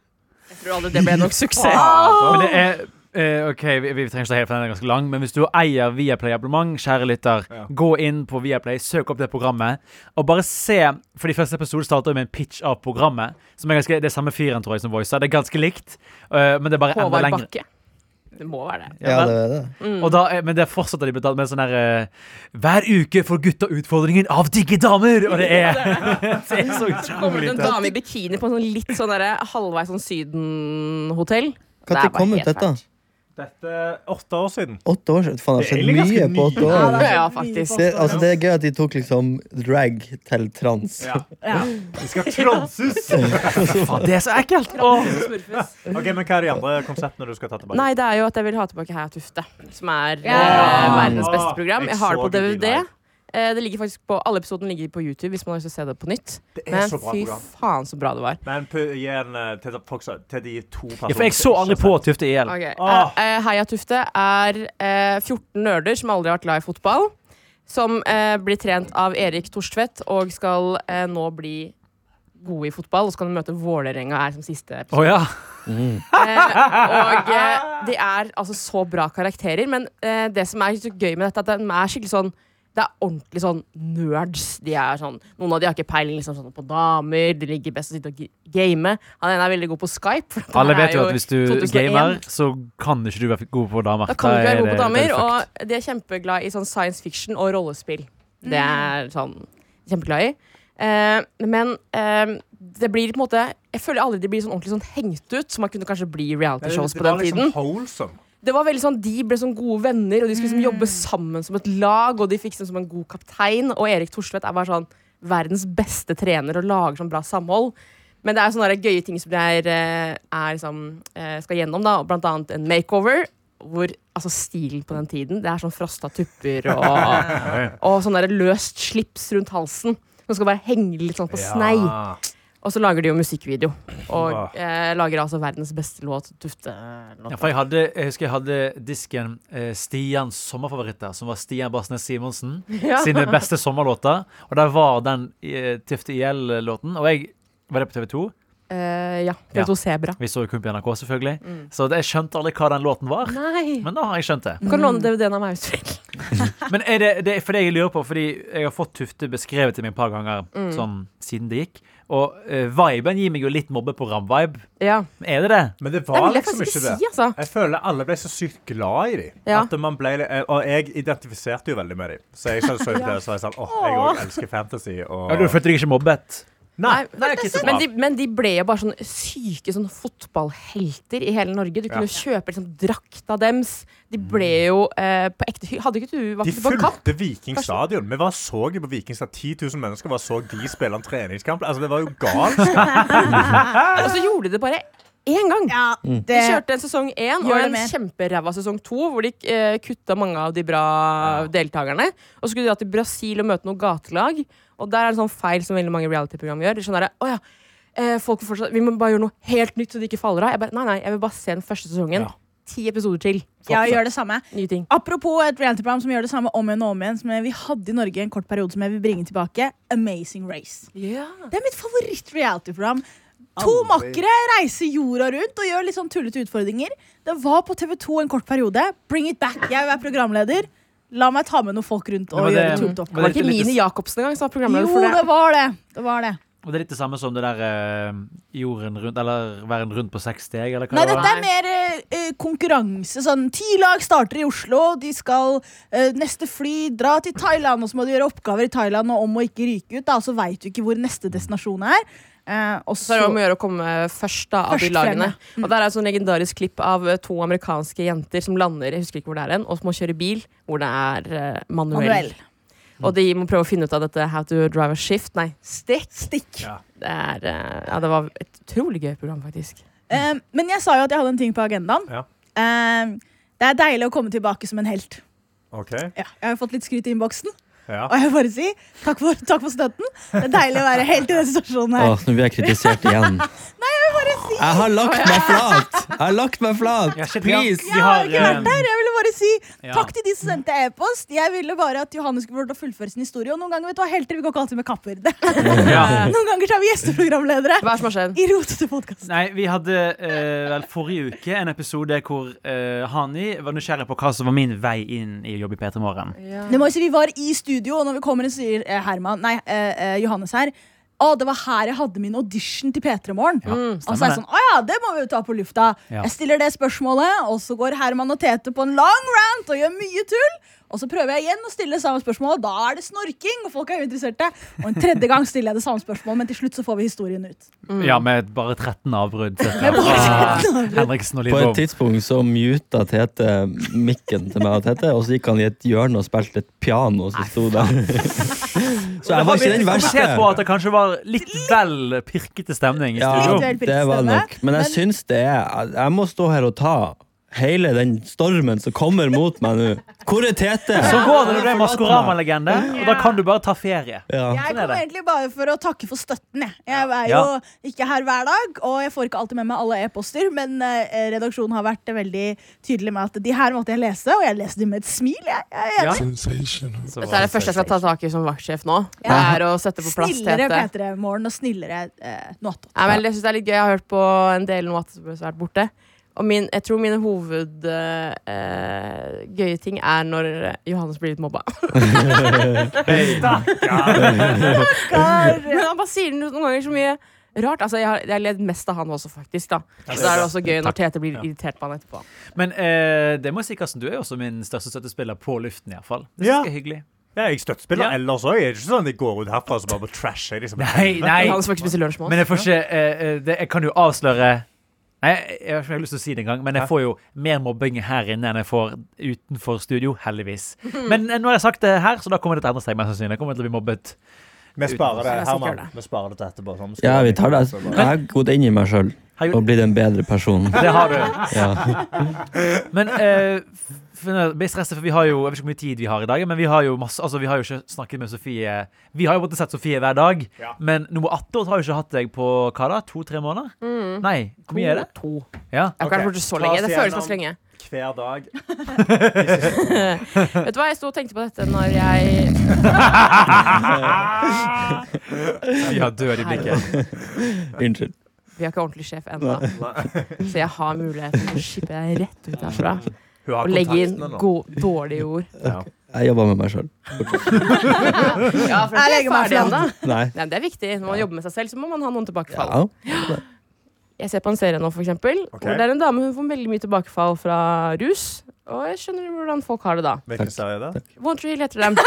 F: Jeg tror aldri det ble nok suksess.
D: Men det er eh, ok, vi, vi trenger ikke ta hele, for den er ganske lang. Men hvis du eier Viaplay-abonnement, kjære lytter, gå inn på Viaplay, søk opp det programmet, og bare se For de første episodene starter jo med en pitch av programmet. Som er ganske, Det er samme fyren, tror jeg, som voicer. Det er ganske likt, eh, men det er bare enda
F: Håvard
D: lengre.
F: Bakke. Det må være det.
D: Ja,
E: Ja,
D: vel.
E: det er det.
D: Og da, eh, men det fortsetter de med med sånn her eh, Hver uke får gutta utfordringen av digge damer! Og det er, det er så
F: Kommer
D: utrolig
F: det en
D: tøft.
F: dame i bikini på en sånn litt sånn derre halvveis sånn Syden-hotell? Det er
E: Når
F: bare
E: kom ut
F: helt
E: dette?
F: fælt.
C: Dette er åtte år siden.
E: Åtte år siden? Faen, det
C: Det
E: har
C: er
E: skjedd
C: egentlig
E: mye
C: ganske
E: på åtte
C: mye.
E: år.
F: Ja,
B: det er sånn mye
F: faktisk.
E: Det, altså, det er gøy at de tok liksom drag til trans.
B: Ja.
C: Vi skal transes! OK,
D: Faen, det er så ekkelt! Åh.
F: Smurfes.
C: men Hva er de andre konseptene du skal ta tilbake?
F: Nei, det er jo at jeg vil ha tilbake Heia Tufte, som er eh,
B: Ja.
F: verdens beste
C: Ah,
F: program.
C: jeg
F: Jeg har det
C: så
F: på
C: det i
F: DVD.
C: dag.
F: Eh, Det ligger faktisk på, Alle episodene ligger på YouTube hvis man har lyst til å se det på nytt.
C: Det er
F: Men
C: så bra
F: fy
C: program.
F: faen, så bra det var.
C: Men pu- gi en eh, til, folk som- til de to personene
D: Ja, for jeg så
C: som
D: aldri
C: ikke
D: på
C: har sett.
D: Tufte IL.
F: Ok, eh,
C: Ah.
F: eh, Heia Tufte er eh, 14 nerder som aldri har vært glad i fotball. Som eh, blir trent av Erik Torstvedt og skal eh, nå bli gode i fotball. Og så kan de møte Vålerenga her som siste
D: Å
F: episode.
D: ja.
F: Eh, og eh, de er altså så bra karakterer, men eh, det som er så gøy med dette, er at de er skikkelig sånn det er ordentlig sånn nerds. De er sånn, noen av de har ikke peiling liksom, sånn, på damer. De ligger best å sitte og gi- game. Han ene er veldig god på Skype. for dette
D: Alle
F: her er
D: vet jo at hvis du
F: 2001.
D: gamer, så kan ikke du være god på damer.
F: Da kan
D: er
F: du
D: eh,
F: ikke være god
D: det-
F: på
D: da er
F: damer.
D: det fucked.
F: Og de er kjempeglad i sånn science fiction og rollespill. Det er sånn kjempeglad i. Eh, men eh, det blir på en måte Jeg føler aldri de blir sånn ordentlig sånn hengt ut, som man kunne kanskje bli i reality-shows på den
C: liksom.
F: tiden.
C: wholesome.
F: Det var veldig sånn, De ble sånn gode venner, og de skulle liksom jobbe sammen som et lag. Og de fikk seg som en god kaptein. Og Erik Thorstvedt er bare sånn verdens beste trener og lager sånn bra samhold. Men det er sånne der gøye ting som de er, eh, er liksom, eh, skal gjennom, da. og Blant annet en makeover. Hvor altså stilen på den tiden Det er sånn frosta tupper og, og sånn der løst slips rundt halsen. Som skal bare henge litt sånn på snei. Og så lager de jo musikkvideo.
C: Åh.
F: Og eh, lager altså verdens beste låt, Tufte-låt.
D: Ja, for jeg, hadde, jeg husker jeg hadde disken eh, Stians sommerfavoritter, som var Stian Barsnes Simonsen sine beste sommerlåter. Og der var den eh, Tifte IL-låten. Og jeg var det på TV 2.
F: Eh, ja.
D: Ja.
F: TV2 Sebra.
D: Vi så jo kun på NRK, selvfølgelig. Så det, jeg skjønte aldri hva den låten var.
F: Mm. Nei!
D: Men nå har jeg skjønt det.
F: Du kan låne DVD-en av meg. hvis du vil.
D: Men er det, det er fordi jeg lurer på, fordi jeg har fått Tufte beskrevet til meg et par ganger
F: Mm.
D: sånn, siden det gikk. Og eh, viben gir meg jo litt mobbeprogram-vibe.
F: Ja.
D: Er det det?
C: Men det
F: Det
C: var
F: vil jeg
C: liksom
F: faktisk
C: ikke
F: ikke
C: det.
F: si, altså.
C: Jeg føler alle ble så sykt glad i dem.
F: Ja.
C: At man ble, litt- eh, og jeg identifiserte jo veldig med dem. Så jeg så, så, det, så jeg sa åh, jeg òg elsker fantasy. Og...
D: Ja, du følte deg ikke mobbet?
C: Nei, nei, ikke så
F: men,
C: bra.
F: de, men de ble jo bare sånn syke sånn fotballhelter i hele Norge. Du kunne jo kjøpe liksom, drakta dems. De ble jo eh, på ekte hy- Hadde ikke du vært
C: De
F: på kamp?
C: fulgte Viking stadion. Vi var så jo på Viking stadion. 10 000 mennesker var så de spille en treningskamp. Altså, det var jo galskap.
F: Og så gjorde de det bare én gang.
B: Ja,
F: De
B: det
F: kjørte en sesong én og
B: Gjør det
F: en
B: mer.
F: kjemperæva sesong to, hvor de eh, kutta mange av de bra deltakerne. Og så skulle de dra til Brasil og møte noe gatelag. Og der er det sånn feil som veldig mange reality-program gjør. De skjønner det, «Å ja, eh, folk vil fortsatt, Vi må bare gjøre noe helt nytt, så de ikke faller av. Jeg bare, nei, nei, jeg vil bare se den første sesongen.
D: Ja.
F: Ti episoder til.
B: Ja, gjør det samme.
F: Nye ting.
B: Apropos et reality-program som gjør det samme om igjen og om igjen, som vi hadde i Norge en kort periode, som jeg vil bringe tilbake. Amazing Race. Det er mitt favoritt-reality-program. To makkere reiser jorda rundt og gjør litt sånn tullete utfordringer. Det var på TV2 en kort periode. Bring it back. Jeg er programleder. La meg ta med noen folk rundt og
D: var
B: gjøre
D: det-
B: tullete
F: Det var
D: litt-
F: ikke
D: litt-
F: Mini Jacobsen engang som var
B: oppgaver.
F: programleder
B: Jo,
F: for
B: det
F: det.
B: var det. det, var det.
D: Og det er litt det samme som det der eh, jorden rundt, eller verden rundt på seks steg, eller hva
B: Nei,
D: det
B: dette
D: var.
B: er mer eh, eh, konkurranse. Sånn, ti lag starter i Oslo. De skal eh, neste fly dra til Thailand, og så må du gjøre oppgaver i Thailand og om å ikke ryke ut. Da, og så veit du ikke hvor neste destinasjon er. Eh, og
F: Så
B: så,
F: er det om å gjøre å komme først da, av de
B: Først Mm.
F: lagene.
B: fremme.
F: Og Der er et sånn legendarisk klipp av eh, to amerikanske jenter som lander jeg husker ikke hvor det er hen, og som må kjøre bil hvor det er eh, manuell.
B: Manuell.
F: Og de må prøve å finne ut av dette How to drive a shift. Nei, stikk! Det, er, eh, ja, det var et utrolig gøy program, faktisk.
B: Eh, men jeg sa jo at jeg hadde en ting på agendaen.
C: Ja.
B: Eh, det er deilig å komme tilbake som en helt.
C: OK.
B: Ja, jeg har fått litt skryt i innboksen.
C: Ja.
B: Og jeg vil bare si takk for, takk for støtten. Det er deilig å være helt i denne situasjonen her.
E: Åh, nå blir jeg kritisert igjen. Jeg har lagt meg flat! Jeg har lagt meg flat!
D: Ja, shit, vi har-
E: Please!
D: vi har,
B: ikke vært
D: eh,
B: der. Jeg ville bare si
D: Ja.
B: takk til de som sendte e-post. Jeg ville bare at Johanne skulle få lov til å fullføre sin historie. Og noen ganger vet du hva, helter vi går ikke alltid med kapper. Det.
D: Ja.
B: Noen ganger så er vi gjesteprogramledere
F: Hva er det som har skjedd?
B: i rotete podkast.
D: Nei, vi hadde eh, vel forrige uke en episode hvor eh, Hani var nysgjerrig på hva som var min vei inn i å jobbe i P3 Morgen.
B: Det må jo si vi var i studio, og når vi kommer inn, så sier eh, Herman Nei, eh, eh, Johannes her. Å, det var her jeg hadde min audition til P3 Morgen.
D: Ja,
B: Og så er jeg
D: stemmer det.
B: sånn, å ja, det må vi jo ta på lufta.
D: Ja.
B: Jeg stiller det spørsmålet, og så går Herman og Tete på en lang rant og gjør mye tull. Og så prøver jeg igjen å stille det samme spørsmålet, og da er det snorking. Og folk er uinteresserte. Og en tredje gang stiller jeg det samme spørsmålet, men til slutt så får vi historien ut.
D: Ja, med bare 13 avbrudd. cirka.
B: Mm. bare 13 avbrudd.
D: Henriksen og
E: På et
D: Lidbom.
E: tidspunkt så muta Tete mikken til meg og Tete, og så gikk han i et hjørne og spilte et piano som sto der. Så jeg var ikke den verste.
D: Kommentert på at det kanskje var litt vel pirkete stemning i
B: Litt
D: studio.
B: vel
E: det var
B: prisstemme,
E: nok. Men jeg
B: men-
E: syns det er Jeg må stå her og ta hele den stormen som kommer mot meg nå. Hvor er Tete?
B: eh,
D: Så går det når du er Maskorama-legende, og da kan du bare ta ferie.
E: Ja.
B: Jeg
D: Sånn er
B: kom
D: det.
B: egentlig bare for å takke for støtten. Jeg, jeg er jo
D: Ja.
B: ikke her hver dag, og jeg får ikke alltid med meg alle e-poster, men eh, redaksjonen har vært veldig tydelig med at de her måtte jeg lese, og jeg leser de med et smil. Jeg, jeg, jeg,
D: Ja.
F: Så det er det første jeg skal ta tak i som vaktsjef nå. Det
B: Ja.
F: er å sette på plass
B: Snillere
F: Tete.
B: P3-morgen og snillere eh, Nåttot.
F: Nei, men jeg synes det er litt gøy. Jeg har hørt på en del nå at det har vært borte. Og min, jeg tror mine hovedgøye eh, gøye ting er når Johannes blir litt mobba. Men han bare sier noen ganger så mye rart. Altså, jeg har, jeg har ledd mest av han også, faktisk. Da. Så da er det også gøy når Tete blir irritert på han etterpå.
D: Men eh, det må jeg si, Karsten, du er jo også min største støttespiller på luften, iallfall. Det synes
C: Ja.
D: jeg er hyggelig.
C: Ja, jeg støttspiller
D: Ja.
C: ellers òg. Det er ikke sånn at jeg går ut herfra og så bare trasher. Liksom.
D: Nei, nei.
F: Johannes får ikke spise lunsj med
D: Men
F: oss.
D: jeg får ikke eh, eh, det, Jeg kan jo avsløre Nei, jeg, jeg har ikke lyst til å si det engang, men jeg får jo mer mobbing her inne enn jeg får utenfor studio, heldigvis. Men eh, nå har jeg sagt det her, så da kommer det til å endre seg, mest sannsynlig. Jeg kommer til å bli mobbet.
C: Vi sparer det
F: Jeg skal gjøre
C: Herman.
F: det.
C: Vi sparer det til etterpå. Sånn.
E: Ja, vi tar det. Jeg har gått inn i meg sjøl
D: Herregud.
E: og blitt en bedre person.
D: Det har du.
E: Ja.
D: Men eh, f- f- bli stresset, for vi har jo Jeg vet ikke hvor mye tid vi har i dag, men vi har jo masse Altså, vi har jo ikke snakket med Sofie Vi har jo måttet sett Sofie hver dag,
C: Ja.
D: men nummer 18 har jo ikke hatt deg på hva da? To-tre måneder? Nei, hvor mye er det?
F: Mm. To.
D: Ja.
F: Jeg har ikke
C: Ok,
F: vært borte så
C: ta
F: lenge.
C: oss
F: Det føles
C: igjennom.
F: ganske lenge.
C: Hver dag.
F: Vet du hva, jeg sto og tenkte på dette når jeg
D: Vi har død i blikket.
E: Unnskyld.
F: Vi har ikke ordentlig sjef ennå, så jeg har muligheten til å shippe deg rett ut herfra
C: Hun har
F: og legge inn
C: kontaktene nå.
F: go- dårlige ord.
E: Jeg jobber med meg sjøl.
F: Ja, for
B: Jeg legger meg flat.
F: ennå.
E: Nei.
F: Nei, men Det er viktig. Når man jobber med seg selv, så må man ha noen tilbakefall.
E: Ja.
F: Jeg ser på en serie nå, for eksempel.
C: Ok.
F: Hvor det er en dame hun får veldig mye tilbakefall fra rus. Og jeg skjønner hvordan folk har det da.
C: Hvilken serie er det?
F: Won't Hill heter den.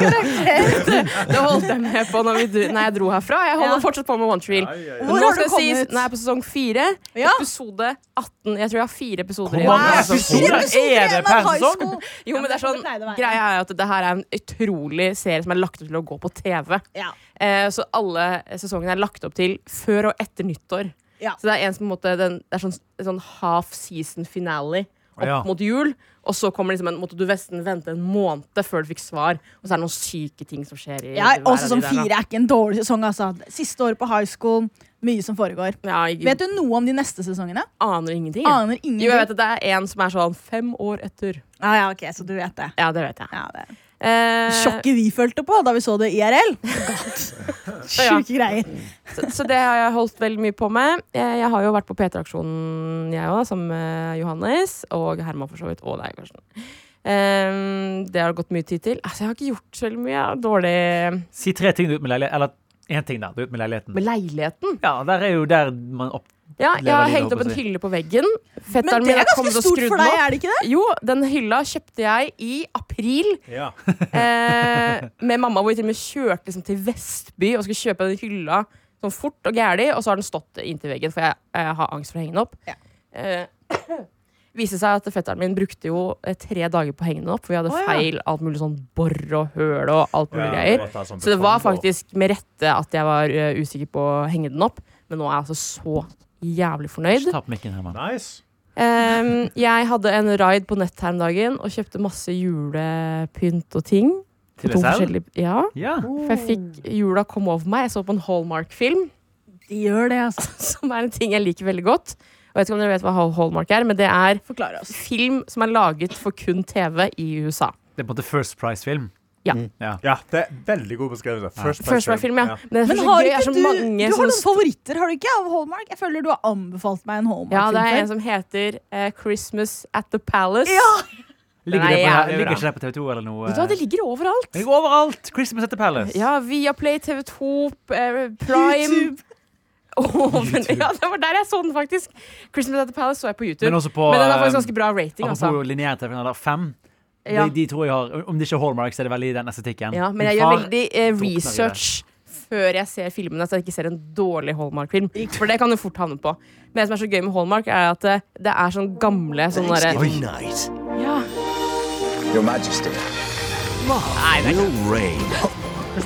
F: det holdt jeg med på når, vi dro, når jeg dro herfra. Jeg holder
B: Ja.
F: fortsatt på med One Tree.
C: Ai, ai, ai.
B: Hvor
F: nå
B: har du
F: skal det sies-
B: kommet?
F: Nå er jeg på sesong fire.
B: Ja.
F: Episode 18. Jeg tror jeg har fire episoder
D: Hvor mange
F: igjen.
C: altså.
B: Wow,
D: episoder
B: fire episoder
D: er det
B: igjen
D: per
B: av high
D: sesong?
B: school.
F: Jo, men
B: Ja, men det
F: det er sånn,
B: er sånn det pleier å være.
F: greia er at det her er en utrolig serie som er lagt opp til å gå på TV.
B: Ja.
F: Eh, så alle sesongene er lagt opp til før og etter nyttår.
B: Ja.
F: Så det er en som på en måte den, Det er sånn, en sånn half season finale opp
D: Ja.
F: mot jul. Og så kommer liksom en, måtte du nesten vente en måned før du fikk svar. Og så er det noen syke ting som skjer. i
B: Ja,
F: hver av
B: også som
F: de der, da.
B: fire er ikke en dårlig sesong. Altså. Siste året på high school, mye som foregår.
F: Ja, jeg
B: Vet du noe om de neste sesongene?
F: aner ingenting. jeg.
B: Aner
F: Jo, jeg
B: ingenting.
F: vet at det er en som er sånn fem år etter.
B: Ah, ja, ok, så du vet det.
F: Ja, det vet jeg.
B: Ja, det.
F: Eh,
B: Sjokket vi følte på da vi så det i IRL. Sjuke greier.
F: så, så det har jeg holdt veldig mye på med. Eh, Jeg, jeg har jo vært på P3-aksjonen, jeg òg, sammen med Johannes og Herman for så vidt. Og deg, Karsten. Eh, det har det gått mye tid til. Altså, jeg har ikke gjort så veldig mye jeg er dårlig
D: Si tre ting du er ute med leiligheten. Eller én ting, da. Du er ute med leiligheten.
F: med leiligheten.
D: Ja, der er jo der man opp...
F: Ja, jeg
D: Leva
F: har
D: livet,
F: hengt opp
D: håper
F: en
D: jeg å si.
F: hylle på veggen.
B: Men
F: Fetteren
B: det
F: min
B: er
F: har kommet
B: ganske
F: og
B: stort
F: skrudd
B: for
F: den
B: deg,
F: opp.
B: er det ikke det?
F: Jo, den hylla kjøpte jeg i april
C: Ja.
F: eh, med mamma, hvor vi til og med kjørte liksom, til Vestby og skulle kjøpe den hylla sånn fort og gæli, og så har den stått inntil veggen, for jeg, eh, har angst for å henge den opp.
B: Ja.
F: Eh, viste seg at fetteren min brukte jo eh, tre dager på å henge den opp, for vi hadde
B: Å, ja.
F: feil alt mulig sånn bor og høl og alt mulig
C: Ja,
F: greier.
C: det var sånn et sånt
F: Så det var
C: betong-
F: faktisk med rette at jeg var eh, usikker på å henge den opp, men nå er jeg altså så jævlig fornøyd.
D: Ta på mikken, Herman.
C: Nice.
F: Ehm, jeg hadde en ride på nett her om dagen og kjøpte masse julepynt og ting.
D: Til
F: To
D: deg selv?
F: forskjellige Ja,
D: Ja.
F: for jeg fikk jula kom over meg. Jeg så på en Hallmark-film,
B: De gjør det, altså.
F: som er en ting jeg liker veldig godt. Og jeg vet ikke om dere vet hva Hall- Hallmark er, men det er
B: Forklar oss.
F: film som er laget for kun TV i USA.
D: Det er på en måte First Price-film.
C: Ja, det er veldig god beskrivelse. First
F: First
C: Price
F: Price-film, ja. Men det er
B: Men
F: så
B: har
F: gøy, det er
B: ikke
F: så
B: du,
F: mange
B: du har
F: sånne
B: noen favoritter har du ikke av Hallmark? Jeg føler du har anbefalt meg en Hallmark.
F: Ja, det er en
B: film før.
F: som heter eh, Christmas at the Palace.
B: ja.
D: Ligger,
F: Nei,
D: det
F: ja,
D: på,
F: det er
D: ligger
F: bra.
D: ikke det på TV2 eller noe?
F: Vet du hva, det ligger overalt.
D: Det ligger overalt! Christmas at the Palace.
F: Ja, Viaplay, TV2, eh, Prime
B: YouTube.
F: Åh, men, ja, det var der jeg så den, faktisk. Christmas at the Palace så jeg på YouTube.
D: Men
F: Men,
D: også på
F: den har faktisk
D: eh,
F: ganske bra rating. Altså.
D: Apropos lineær-TV, den der fem.
F: Ja.
D: De, de tror jeg har Om det ikke er Hallmark, så er det veldig den estetikken.
F: Ja, men
D: Min far-
F: jeg gjør veldig eh,
D: drukner i det.
F: research før jeg ser filmene, så jeg ikke ser en dårlig Hallmark-film. For det kan du fort havne på. Men det som er så gøy med Hallmark, er at eh, det er sånn gamle sånn derre
A: night.
F: ja.
I: Your Majesty,
A: Will Rain,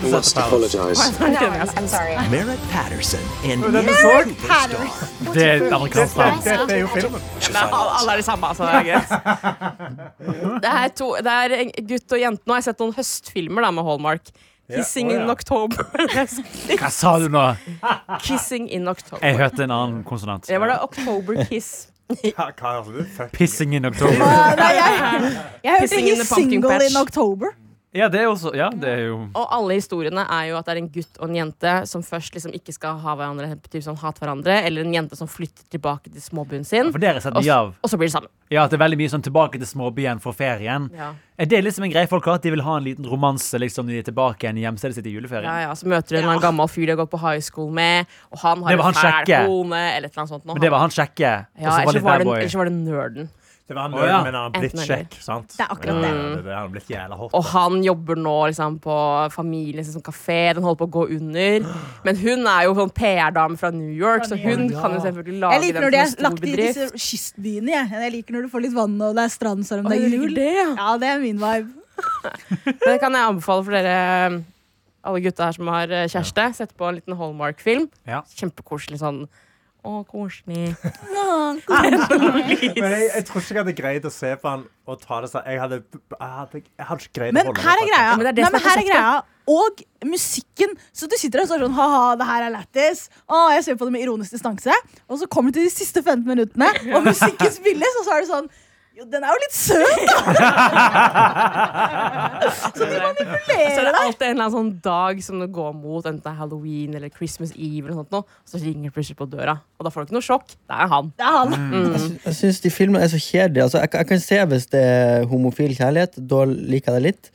I: we must apologize.
J: I'm sorry.
A: Merritt Patterson and
C: Men den du så?
D: Det er amerikansk navn.
C: Dette er jo filmen.
F: Nei, alle alle er de samme, altså. Det er greit. Det er, to, det er en gutt og jente. Nå har jeg sett noen høstfilmer da, med Hallmark.
C: Ja, å,
F: 'Kissing
C: ja.
F: in October'.
D: Hva sa du nå?
F: 'Kissing in October'.
D: Jeg hørte en annen konsonant.
F: Det var da October Kiss.
C: Hva hva er det? Fuck.
D: Pissing in October.
B: Ah, nei, jeg, jeg hørte
F: Pissing in
B: ikke
F: the pumpkin
B: single
F: patch.
B: in October.
D: Ja, det er også Ja, det er jo
F: Og alle historiene er jo at det er en gutt og en jente som først liksom ikke skal ha hverandre, typ sånn hat hverandre, eller en jente som flytter tilbake til småbyen sin,
D: For dere har sett
F: og,
D: mye av
F: og så blir de sammen.
D: Ja, at det er veldig mye sånn tilbake til småbyen for ferien.
F: Ja.
D: Er det liksom en greie folk har? At de vil ha en liten romanse liksom når de er tilbake igjen i hjemstedet sitt i
F: Ja,
D: juleferien?
F: ja, Så møter hun en gammel fyr de har gått på high school med, og han
D: Det var
F: har
D: han
F: en fæl
D: kjekke.
F: kone, eller et eller annet sånt. nå.
D: Men det var han kjekke. og så
F: ja,
D: var
F: ellers
D: litt
F: var
D: bad
F: det,
D: boy.
F: ellers var det nerden.
C: Det var han
D: Å,
C: nød,
D: ja.
C: men han har blitt
F: Enten eller.
C: kjekk, sant?
B: Det er akkurat det.
C: Ja, det, er det. Han har blitt jævla hot.
F: Og han jobber nå liksom, på familien sin som kafé. Den holder på å gå under. Men hun er jo sånn PR-dame fra New York, så hun kan jo selvfølgelig lage
B: Jeg liker
F: den
B: når de
F: som en
B: er
F: stor
B: lagt i
F: bedrift.
B: disse kystbyene. Jeg. jeg liker når du får litt vann og det er strand selv om det
F: Å,
B: er
F: du liker
B: jul.
F: det, ja.
B: Ja, det er min vibe.
F: Det kan jeg anbefale for dere um, alle gutta her som har eh, kjæreste. Sett på en liten Hallmark-film.
D: Ja.
F: Kjempekoselig sånn. Å, koselig.
C: Men jeg, jeg tror ikke jeg hadde greid å se på han og ta det sånn. Jeg hadde, jeg hadde, jeg hadde ikke greid
B: Men
C: å holde
B: her er
C: meg
B: greia.
F: men det er det
B: Nei,
F: som er
B: men her er greia. Og musikken. Så du sitter der og står sånn ha-ha, det her er lættis. Å, jeg ser på det med ironisk distanse. Og så kommer du til de siste 15 minuttene, og musikken spilles, og så er det sånn jo, den er jo litt søt, da! så de
F: Så er
B: manipulerer
F: det
B: deg.
F: alltid en eller annen sånn dag som det går mot, enten det er halloween eller Christmas Eve, eller noe sånt, noe, så ringer det plutselig på døra. Og da får du ikke noe sjokk. Det er han.
B: Det er han.
E: Jeg sy- Jeg syns de filmene er så kjedelige. Altså, jeg, kan- jeg kan se hvis det er homofil kjærlighet, da liker jeg det litt.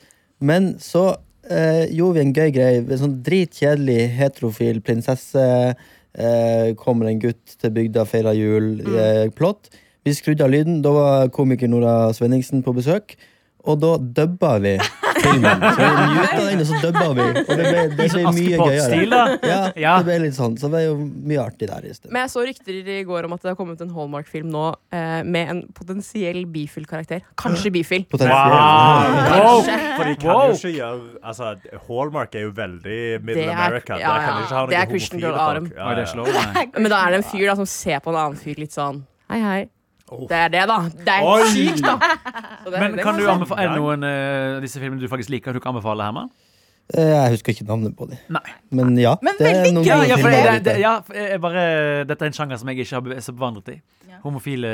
E: Men så eh, gjorde vi en gøy greie. En sånn dritkjedelig heterofil prinsesse. Eh, kommer en gutt til bygda, feirer jul. Eh, plott. Vi skrudde av lyden. Da var komiker Nora Svenningsen på besøk. Og da dubba vi filmen. Så vi muta den, og så dubba vi. Og det ble, det ble mye
D: sånn Askepott-stil,
E: gøyere.
D: da.
E: Ja,
D: Ja.
E: det ble litt sånn. Så det ble jo mye artig der i stedet.
F: Men jeg så rykter i går om at det har kommet en Hallmark-film nå eh, med en potensiell bifil karakter. Kanskje bifil.
E: Potensielt.
D: Wow.
C: For de kan jo ikke gjøre altså, Hallmark er jo veldig Middle
F: Det er-
C: America. Der
F: ja,
C: kan
F: ja.
C: de ikke ha
F: Det er
C: noen
F: Christian
C: homofile
F: Girl Arum.
C: folk. Ja,
D: Oi, det
C: ja.
D: slår meg.
F: Men da er det en fyr da som ser på en annen fyr litt sånn Hei, hei.
C: Oh.
F: Det er det, da. Det er
C: Oi!
F: sykt, da. Så det-
D: Men
F: det sånn.
D: kan du
F: se.
D: anbefale, er det noen eh, av disse filmene du faktisk liker, du kan anbefale, Herman?
E: Eh, Jeg husker ikke navnet på dem.
D: Nei.
E: Men ja.
B: Men
E: det er
B: veldig
E: noen
B: gøy,
D: Ja,
E: gode
D: ja, for det,
E: filmer der
F: eh.
D: det,
E: ute.
D: ja, for jeg bare, dette er en sjanger som jeg ikke har be- er så bevandret i. Homofile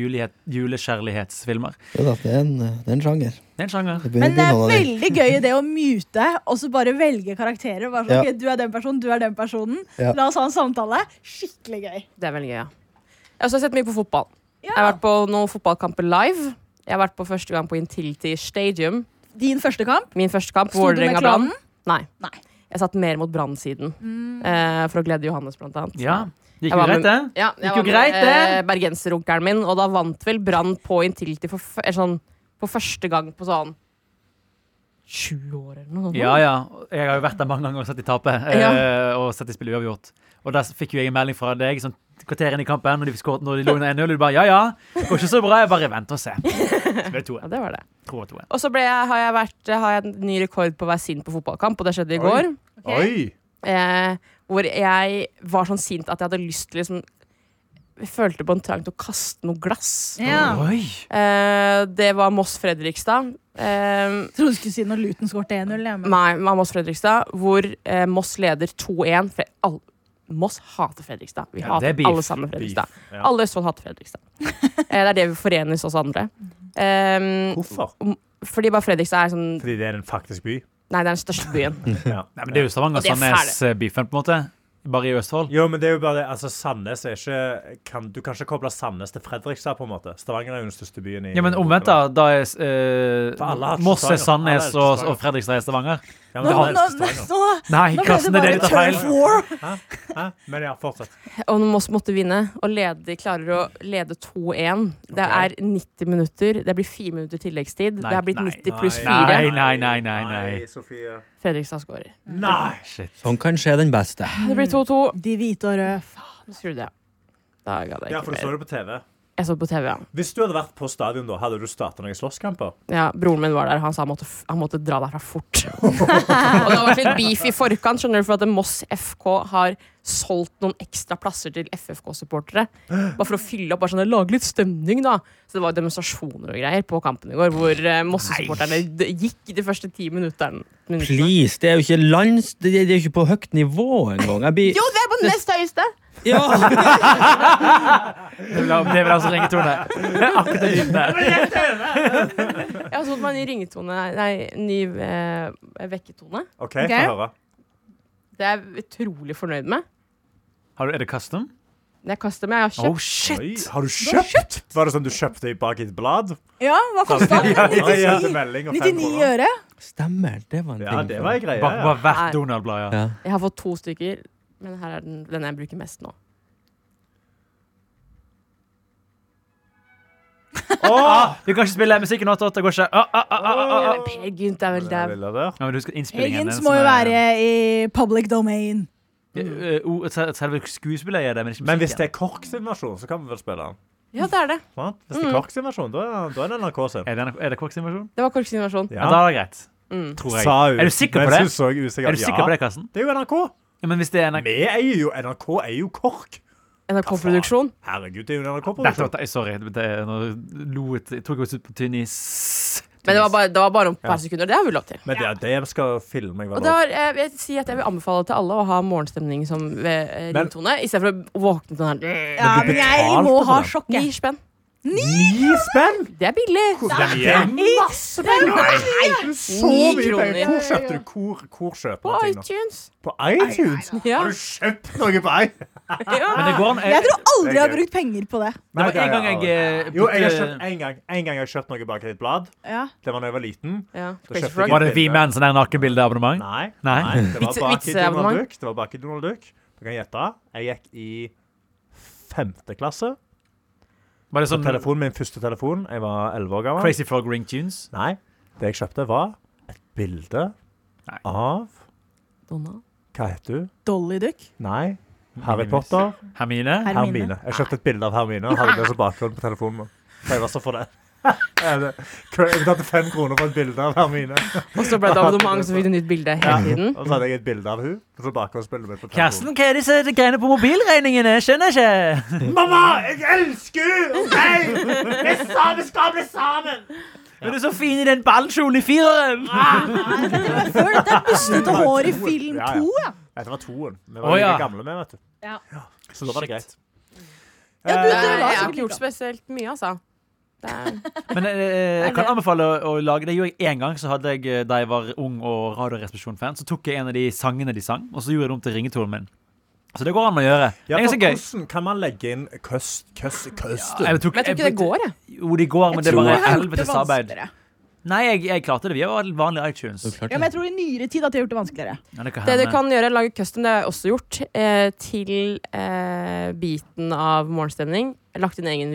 D: julighet, julekjærlighetsfilmer.
E: Jo da, det er en, det er en sjanger.
D: Det er en sjanger.
E: Det begynner
B: Men det
E: å bli
B: er
E: noen av dem.
B: veldig gøy det å mute og så bare velge karakterer. Bare sånn,
E: Ja.
B: ok, du er den personen, du er den personen.
E: Ja.
B: La oss ha en samtale. Skikkelig gøy.
F: Det er veldig gøy, ja. Jeg har også sett mye på fotball.
B: Ja.
F: Jeg har vært på noen fotballkamper live. Jeg har vært på første gang på Intility Stadium.
B: Din første kamp.
F: Min første kamp.
B: Sto du med
F: Vålerenga Brann.
B: klanen?
F: Nei.
B: Nei. Mm.
F: Jeg satt mer mot Brann-siden. Eh, for å glede Johannes, blant annet.
D: Ja. Gikk
F: Jeg
D: jo
F: var med-
D: greit, det?
F: Ja, jeg
D: Gikk
F: var
D: jo greit,
F: med,
D: det.
F: eh, bergenserunkeren min, og da vant vel Brann på Intility for, f- eller sånn, for første gang på sånn 20 år eller noe sånt.
D: Ja, ja. Jeg har jo vært der mange ganger og sett de tape. eh, Og sett de spille uavgjort. Og der fikk jo jeg en melding fra deg sånn kvarter inn i kampen når de, skåret- når de lå under 1-0. og Du bare ja, ja. Det går ikke så bra. Jeg bare venter og ser. Så ble det
F: Ja,
D: 2-1.
F: det var det.
D: Tror det var 2-1.
F: Og så ble jeg, har, jeg vært, har jeg en ny rekord på å være sint på fotballkamp, og det skjedde i
C: Oi.
F: går.
C: Oi!
F: eh, hvor jeg var sånn sint at jeg hadde lyst til liksom jeg følte på en trang til å kaste noe glass.
D: Oi.
F: Eh, det var Moss Fredrikstad. Eh,
B: Trodde du skulle si når Luton skåret 1-0. jeg, men-
F: nei, det var Moss Fredrikstad, hvor eh, Moss leder 2-1. Fre- all- Moss hater Fredrikstad. Vi
D: Ja, det er
F: hater
D: beef.
F: alle sammen Fredrikstad.
C: Beef, ja.
F: Alle i Østfold hater Fredrikstad. eh, det er det vi forenes oss andre. Eh,
C: Hvorfor?
F: fordi bare Fredrikstad er sånn
C: Fordi det er en faktisk by.
F: Nei, det er den største byen.
D: Mm.
C: Ja.
D: Nei, men det er jo
F: Og det er
D: Stavanger-Sandnes-beefen, på en måte. Bare i Østfold.
C: Jo, men det er jo bare det. Altså, Sandnes er ikke kan, Du kan ikke koble Sandnes til Fredrikstad, på en måte. Stavanger er jo den største byen i
D: Ja, men omvendt, da. da er, eh,
C: For alle har ikke
D: Moss
C: Stavanger. Alle
D: er
C: har
D: Sandnes
C: ikke
D: og,
C: Stavanger.
D: og Fredrikstad er Stavanger.
C: Ja, men
B: Nå,
C: det
B: nå,
C: har
B: nå,
C: helst
B: nå,
C: Stavanger.
B: nå
D: Nei,
B: ble
D: Karsten, det er det du tar
B: bare
D: feil.
B: turf war.
C: Hæ? Men ja, fortsett.
F: Og når Moss måtte vinne, og lede, de klarer å lede 2-1 Det er 90 minutter. Det blir fire minutter tilleggstid.
D: Nei,
F: det er blitt
D: nei,
F: 90 pluss
D: nei.
F: 4.
D: nei, nei, nei, nei.
C: Sofie.
F: Fredrikstad skårer.
C: Nei!
E: Sånn kan skje den beste.
F: Det blir 2-2.
B: De hvite og røde.
F: Nå skrur det av. Da gadd jeg
C: Ja, for
F: ikke
C: du så
F: mer.
C: det på TV.
F: Jeg så det på TV, ja.
C: Hvis du hadde vært på stadion da, hadde du starta noen slåsskamper?
F: ja. Broren min var der. Han sa han måtte, f- han måtte dra derfra fort. og det har vært litt beef i forkant, skjønner du, for at Moss FK har solgt noen ekstra plasser til FFK-supportere. Bare for å fylle opp, bare sånn, lage litt stemning, da. Så det var demonstrasjoner og greier på kampen i går, hvor eh, Moss-supporterne d- gikk de første ti minutterne. minuttene.
E: Please, det er jo ikke lands... Det det er jo ikke på høyt nivå engang. Jeg blir
F: Jo, det er på nest høyeste!
E: Ja!
D: Det vil ha- det vil ha som ringetone. Det er Akkurat den lyden der.
F: Jeg har fått meg en ny ringetone, nei, en ny eh, vekketone.
C: OK,
B: Ok.
C: få høre.
F: Det er jeg utrolig fornøyd med.
D: Har du- Er det custom?
F: Det er custom, jeg har kjøpt.
D: Oh, shit!
C: Oi, har du kjøpt? Var det sånn du kjøpte i bak i et blad?
B: Ja, hva kosta den?
C: Ja, jeg sendte
B: 99,
C: melding og fem
B: 99
D: eh.
C: kroner.
B: øre?
E: Stemmer. Det var en ting.
C: Ja, det var en greie.
D: Bare,
C: Ja.
D: bare hvert Donald-blad, ja.
E: Ja.
F: Jeg har fått to stykker, men her er den, den jeg bruker mest nå.
D: Åh, du kan ikke spille musikken 8-8. Det går ikke. Ah, Åh, åh, åh, åh, åh.
F: Men Per Gynt er vel dau.
D: Ja, men du husker innspillingen.
B: Higgins
D: den
B: må
D: som
B: jo
D: er-
B: være i public domain.
D: Eh, o- sel- Selve skuespillet er det, men ikke
C: Men hvis
D: musikken.
C: det er KORK sin versjon, så kan vi vel spille den.
F: Ja, det er det.
C: Sant? Hvis
D: Mm.
C: det er KORK sin versjon, da er- da er det NRK sin.
D: Er det, NRK er det Korks versjon?
F: Det var Korks sin versjon.
D: Ja. da er det greit. Tror jeg.
C: Sa hun.
D: Er du sikker på
C: mens
D: det?
C: hun så usikker.
D: Er du sikker på det,
C: Ja.
D: Karsten?
C: Det er jo NRK.
D: Ja, men hvis det er NRK...
C: Vi eier jo NRK er jo KORK.
F: NRK-produksjon.
C: Herregud, det er jo
D: Dette,
C: NRK-produksjon.
D: var- sorry, det, nå lo jeg til- tok oss ut på tynn is.
F: Men det var bare, det var bare om et par sekunder. Det har vi lov til.
C: Men det, det skal filme jeg
F: Og
C: vel
F: det har, eh, jeg, vil si at jeg vil anbefale til alle å ha morgenstemning som ved eh,
C: Men-
F: ringtone, istedenfor å våkne til den her.
B: Ja, men jeg må
C: betalte
B: ha
C: for den.
F: Ni
B: sjokket.
F: spenn.
C: Ni spenn!
F: Det er billig.
B: Masse penger!
C: Så
F: Ni
C: mye penger.
F: kroner.
C: Hvor kjøpte du hvor, hvor kjøper
F: På
C: man ting nå?
F: iTunes.
C: På iTunes?
F: Ja.
C: Har du kjøpt noe på iTunes?
D: Men
F: Ah,
D: det går an.
B: Jeg tror aldri jeg har
C: gøy.
B: brukt penger på det.
D: Det var en gang jeg eh,
C: Jo, jeg har
D: brukte-
C: kjøpt en gang En gang jeg har kjøpt noe bak i et blad.
B: Ja.
C: Det var da jeg var liten.
F: Ja.
C: Da
F: Crazy
C: kjøpte
F: Frog.
C: jeg-
D: Var det Vi Menn som er nakenbildeabonnement?
C: Nei.
D: Nei.
C: det var
F: Vitse-
C: bak i Donald
F: vitseabonnement.
C: Duck. Det var bak i Donald Duck. Du kan gjette. Jeg gikk i femte klasse.
D: Var det
C: Så
D: sånn
C: telefonen min første telefon. Jeg var elleve år gammel.
D: Crazy Frog ringtunes?
C: Nei. Det jeg kjøpte, var et bilde
D: Nei.
C: av
F: Donald.
C: Hva heter du?
B: Dolly Duck.
C: Nei. Harry Potter.
D: Hermine?
B: Hermine.
C: Hermine. Jeg kjøpte et bilde av Hermine og hadde det som bakgrunn på telefonen. min. For jeg var så for det. Jeg betalte fem kroner for et bilde av Hermine.
F: Og så ble det abonnement, så fikk du nytt bilde hele tiden.
C: Og så hadde jeg et bilde av hun og så bakgrunnsbildet mitt på telefonen.
D: Karsten, hva er disse greiene på mobilregningene? Skjønner ikke.
C: Mamma, jeg elsker henne! Nei! Vi sa vi skal bli sammen!
D: Er du så fin i den ballkjolen i fireren?
B: Før dette er bustete hår i film
C: Ja, ja.
B: 2, ja.
C: Dette var toen. Vi
D: Å,
C: var like
D: ja.
C: gamle med, vet du.
B: Ja.
C: Så da var det greit.
B: Ja, du, det
F: Nei,
B: var
F: Eh, jeg har
B: sikkert
F: ikke gjort
B: gjort
F: spesielt mye, altså. Det er,
D: Men eh, jeg kan anbefale å, å lage Det gjorde jeg én gang så hadde jeg, eh, da jeg var ung og Radioresepsjon-fan. Så tok jeg en av de sangene de sang, og så gjorde jeg det om til ringetonen min. Så det går an å gjøre.
C: Ja, for
D: det er ganske gøy.
C: hvordan kan man legge inn køst, køst, køst?
D: Jeg tok-
F: men jeg tror ikke det
D: brukte-
F: går, jeg.
D: Jo, de går, men det er
B: tror jeg
D: bare
B: har gjort det
D: helvetes arbeid.
B: vanskeligere.
D: Nei, jeg, jeg klarte det. Vi har vanlig iTunes.
B: Ja, men jeg tror i nyere tid at de har gjort det vanskeligere.
D: Ja, det kan
F: Det du
D: hende.
F: kan gjøre, lage custom, det har jeg også gjort, eh, til eh, biten av morgenstemning. Lagt inn egen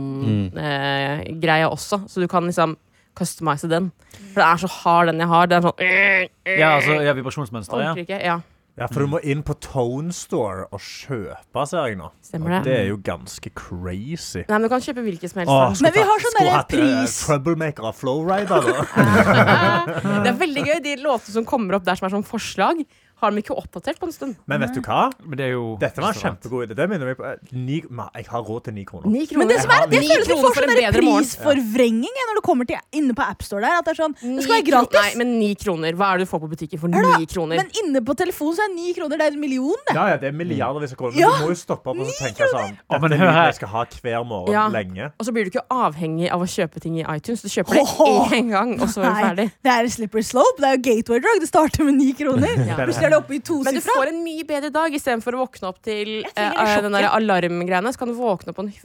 D: Mm.
F: vibrasjongreie eh, greie også, så du kan liksom customize den. For det er så hard, den jeg har. Den er sånn
D: Ja, altså, ja, vibrasjonsmønster, ja.
F: Orker ikke. Ja,
C: Ja, for du må inn på Tone Store og kjøpe, ser jeg nå.
F: stemmer det.
C: Det er jo ganske crazy.
F: Nei, men Du kan kjøpe hvilken som helst.
C: Åh,
F: da.
C: skulle
B: Men vi har
C: tatt-
B: sånn
C: skulle
B: der
C: hatt, eh,
B: pris.
C: Troublemaker av Flowrider, da.
F: Det er veldig gøy. De låtene som kommer opp der som er sånn forslag, har de ikke oppdatert på en stund.
C: Men vet du hva?
D: Men det er jo
C: Dette var en kjempegod idé. Det minner meg på eh, ni, ma, Jeg har råd til ni kroner.
F: Ni kroner.
B: Men det som er, det
F: Ni
B: føles som
F: kroner
B: for sånn
F: en
B: der
F: bedre morgen.
B: prisforvrenging jeg, når du kommer til inne på AppStore der. At det er sånn Det skal
F: Ni
B: være
F: kro- Nei,
B: gratis.
F: men ni kroner. Hva er det du får på butikken for
B: Hør da,
F: ni kroner?
B: Men inne på telefonen så er ni kroner det er en million. det.
C: Ja, ja, det er milliardervis av kroner.
B: Ja,
C: Men du må jo stoppe opp og så tenke sånn
D: Å,
C: Dette
D: men
C: er
D: hør
C: lyden
D: her.
C: jeg skal ha hver morgen
F: Ja.
C: lenge.
F: Og så blir du ikke avhengig av å kjøpe ting i iTunes. Du kjøper
B: Ho,
F: det
B: ho!
F: én gang, og så er du ferdig.
B: Nei, det er en slippery slope. Det er jo gateway drug. Det starter med ni kroner. Plutselig er det oppe i
F: Men du
B: tosifra.
F: får en mye bedre dag istedenfor å våkne opp til
B: Jeg trenger det
F: eh, den der
B: sjokket.
F: alarmgreiene. Så kan du våkne opp på en hy-